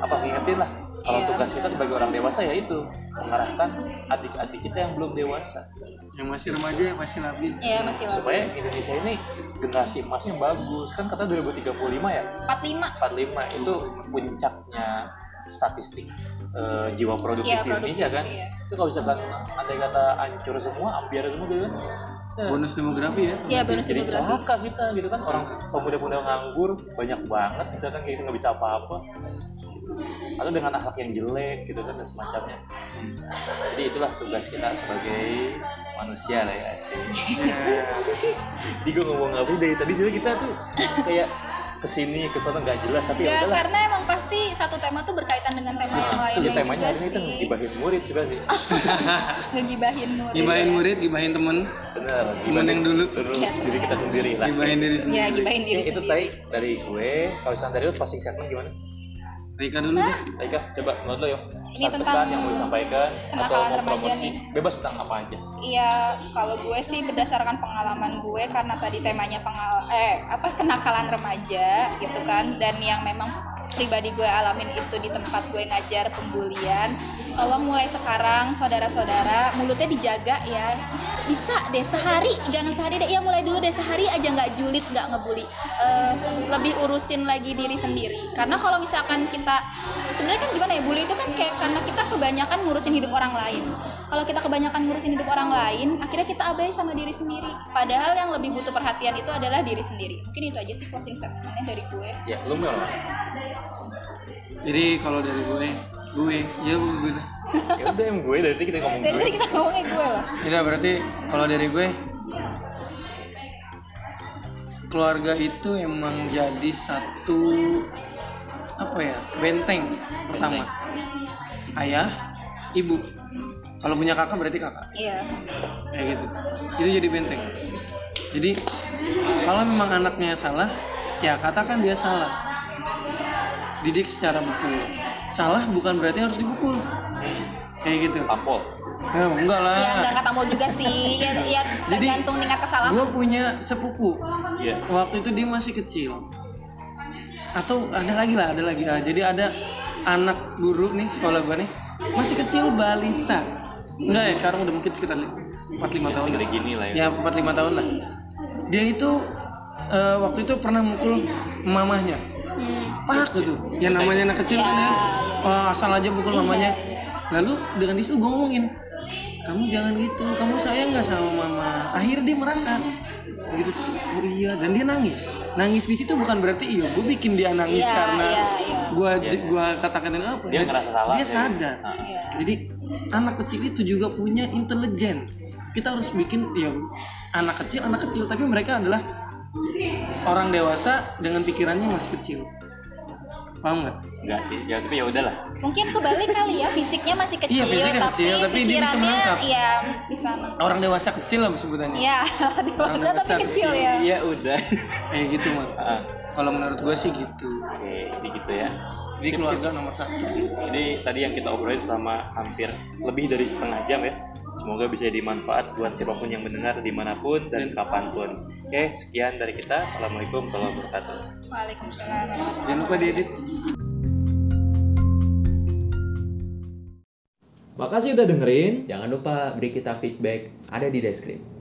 apa ngingetin lah kalau Iya, tugas betul. kita sebagai orang dewasa ya itu mengarahkan adik-adik kita yang belum dewasa yang masih remaja yang masih labil Iya, masih lama. supaya Indonesia ini generasi emasnya bagus kan kata 2035 ya 45 45 itu puncaknya statistik eh, jiwa produktif Iya, di Indonesia produktif, kan iya. itu kalau misalkan andai kata hancur semua ambiar semua gitu kan ya, bonus demografi ya Iya, bonus jadi demografi. celaka kita gitu kan orang pemuda-pemuda nganggur banyak banget misalkan kayak gitu nggak bisa apa-apa atau dengan akhlak yang jelek gitu kan dan semacamnya jadi itulah tugas kita sebagai manusia lah ya asik. Eh, Jadi gue ngomong apa sih dari tadi sebenarnya kita tuh kayak kesini kesana nggak jelas tapi ya Enggak, udahlah karena emang pasti satu tema tuh berkaitan dengan tema Nah, yang itu lainnya dia temanya juga hari ini kita sih. gibahin murid sebenarnya sih. Ngegibahin murid. gibahin murid gibahin temen Bener. temen yang dulu Terus diri kita sendiri lah. gibahin diri Ya, sendiri gibahin diri itu sendiri. tadi dari gue. Kalau misalnya dari lu passing statement gimana? Rika dulu deh Rika, coba menurut lo yuk. Ini Pesan, pesan tentang yang mau disampaikan atau kenakalan mau remaja promosi. nih. Bebas tentang apa aja. Iya, kalau gue sih berdasarkan pengalaman gue karena tadi temanya pengal eh apa kenakalan remaja gitu kan dan yang memang pribadi gue alamin itu di tempat gue ngajar pembulian. Tolong mulai sekarang saudara-saudara mulutnya dijaga ya. Bisa deh sehari, jangan sehari deh. Ya mulai dulu deh sehari aja nggak julid, nggak ngebully. Eh, lebih urusin lagi diri sendiri. Karena kalau misalkan kita sebenarnya kan gimana ya bully itu kan kayak karena kita kebanyakan ngurusin hidup orang lain kalau kita kebanyakan ngurusin hidup orang lain akhirnya kita abai sama diri sendiri padahal yang lebih butuh perhatian itu adalah diri sendiri mungkin itu aja sih closing statementnya dari gue Ya, lu mau jadi kalau dari gue gue ya gue dah. Ya udah yang gue dari tadi kita ngomong dari gue. tadi kita ngomongnya gue lah Tidak Iya, berarti kalau dari gue keluarga itu emang jadi satu apa ya benteng pertama ayah ibu kalau punya kakak berarti kakak iya kayak gitu itu jadi benteng jadi kalau memang anaknya salah ya katakan dia salah didik secara betul salah bukan berarti harus dipukul kayak gitu Tampol. Nah, enggak lah ya nggak kata mau juga sih ya, ya Jadi, tergantung tingkat gue kesalahan punya sepupu Iya. waktu itu dia masih kecil atau ada lagi lah ada lagi Ah, jadi ada anak guru nih sekolah gue nih masih kecil balita enggak ya sekarang udah mungkin sekitar 4-5 Ya, tahun lah. segede gini lah ya. ya 4-5 tahun lah dia itu eh, waktu itu pernah mukul mamahnya hmm. pak gitu Iya. yang namanya anak kecil kan ya Ya, wah, asal aja pukul Iya, mamanya iya. lalu dengan disitu gue ngomongin kamu jangan gitu kamu sayang nggak sama mama akhirnya dia merasa gitu oh iya dan dia nangis nangis di situ bukan berarti iya gue bikin dia nangis Iya, karena iya, iya. gue Iya. gua kata-katain apa Dia Dan ngerasa salah. dia ya. sadar Ah. Iya. jadi anak kecil itu juga punya intelijen kita harus bikin ya anak kecil anak kecil tapi mereka adalah orang dewasa dengan pikirannya yang masih kecil paham nggak Enggak sih, ya tapi ya udahlah. Mungkin kebalik kali ya, fisiknya masih kecil, Iya, fisiknya tapi, kecil, tapi dia bisa pikirannya menangkap. iya bisa nangkap. orang dewasa kecil lah sebutannya Iya, dewasa tapi besar, kecil kecil. ya. Ya udah. kayak gitu mah Ah, kalau menurut gue sih gitu Oke, jadi gitu ya. jadi keluarga nomor satu Ini tadi yang kita obrolin selama hampir lebih dari setengah jam ya. Semoga bisa dimanfaat buat siapapun yang mendengar dimanapun dan kapanpun. Oke, sekian dari kita. Assalamualaikum warahmatullahi wabarakatuh. Waalaikumsalam warahmatullahi wabarakatuh. jangan lupa diedit Makasih udah dengerin. Jangan lupa beri kita feedback, ada di deskripsi.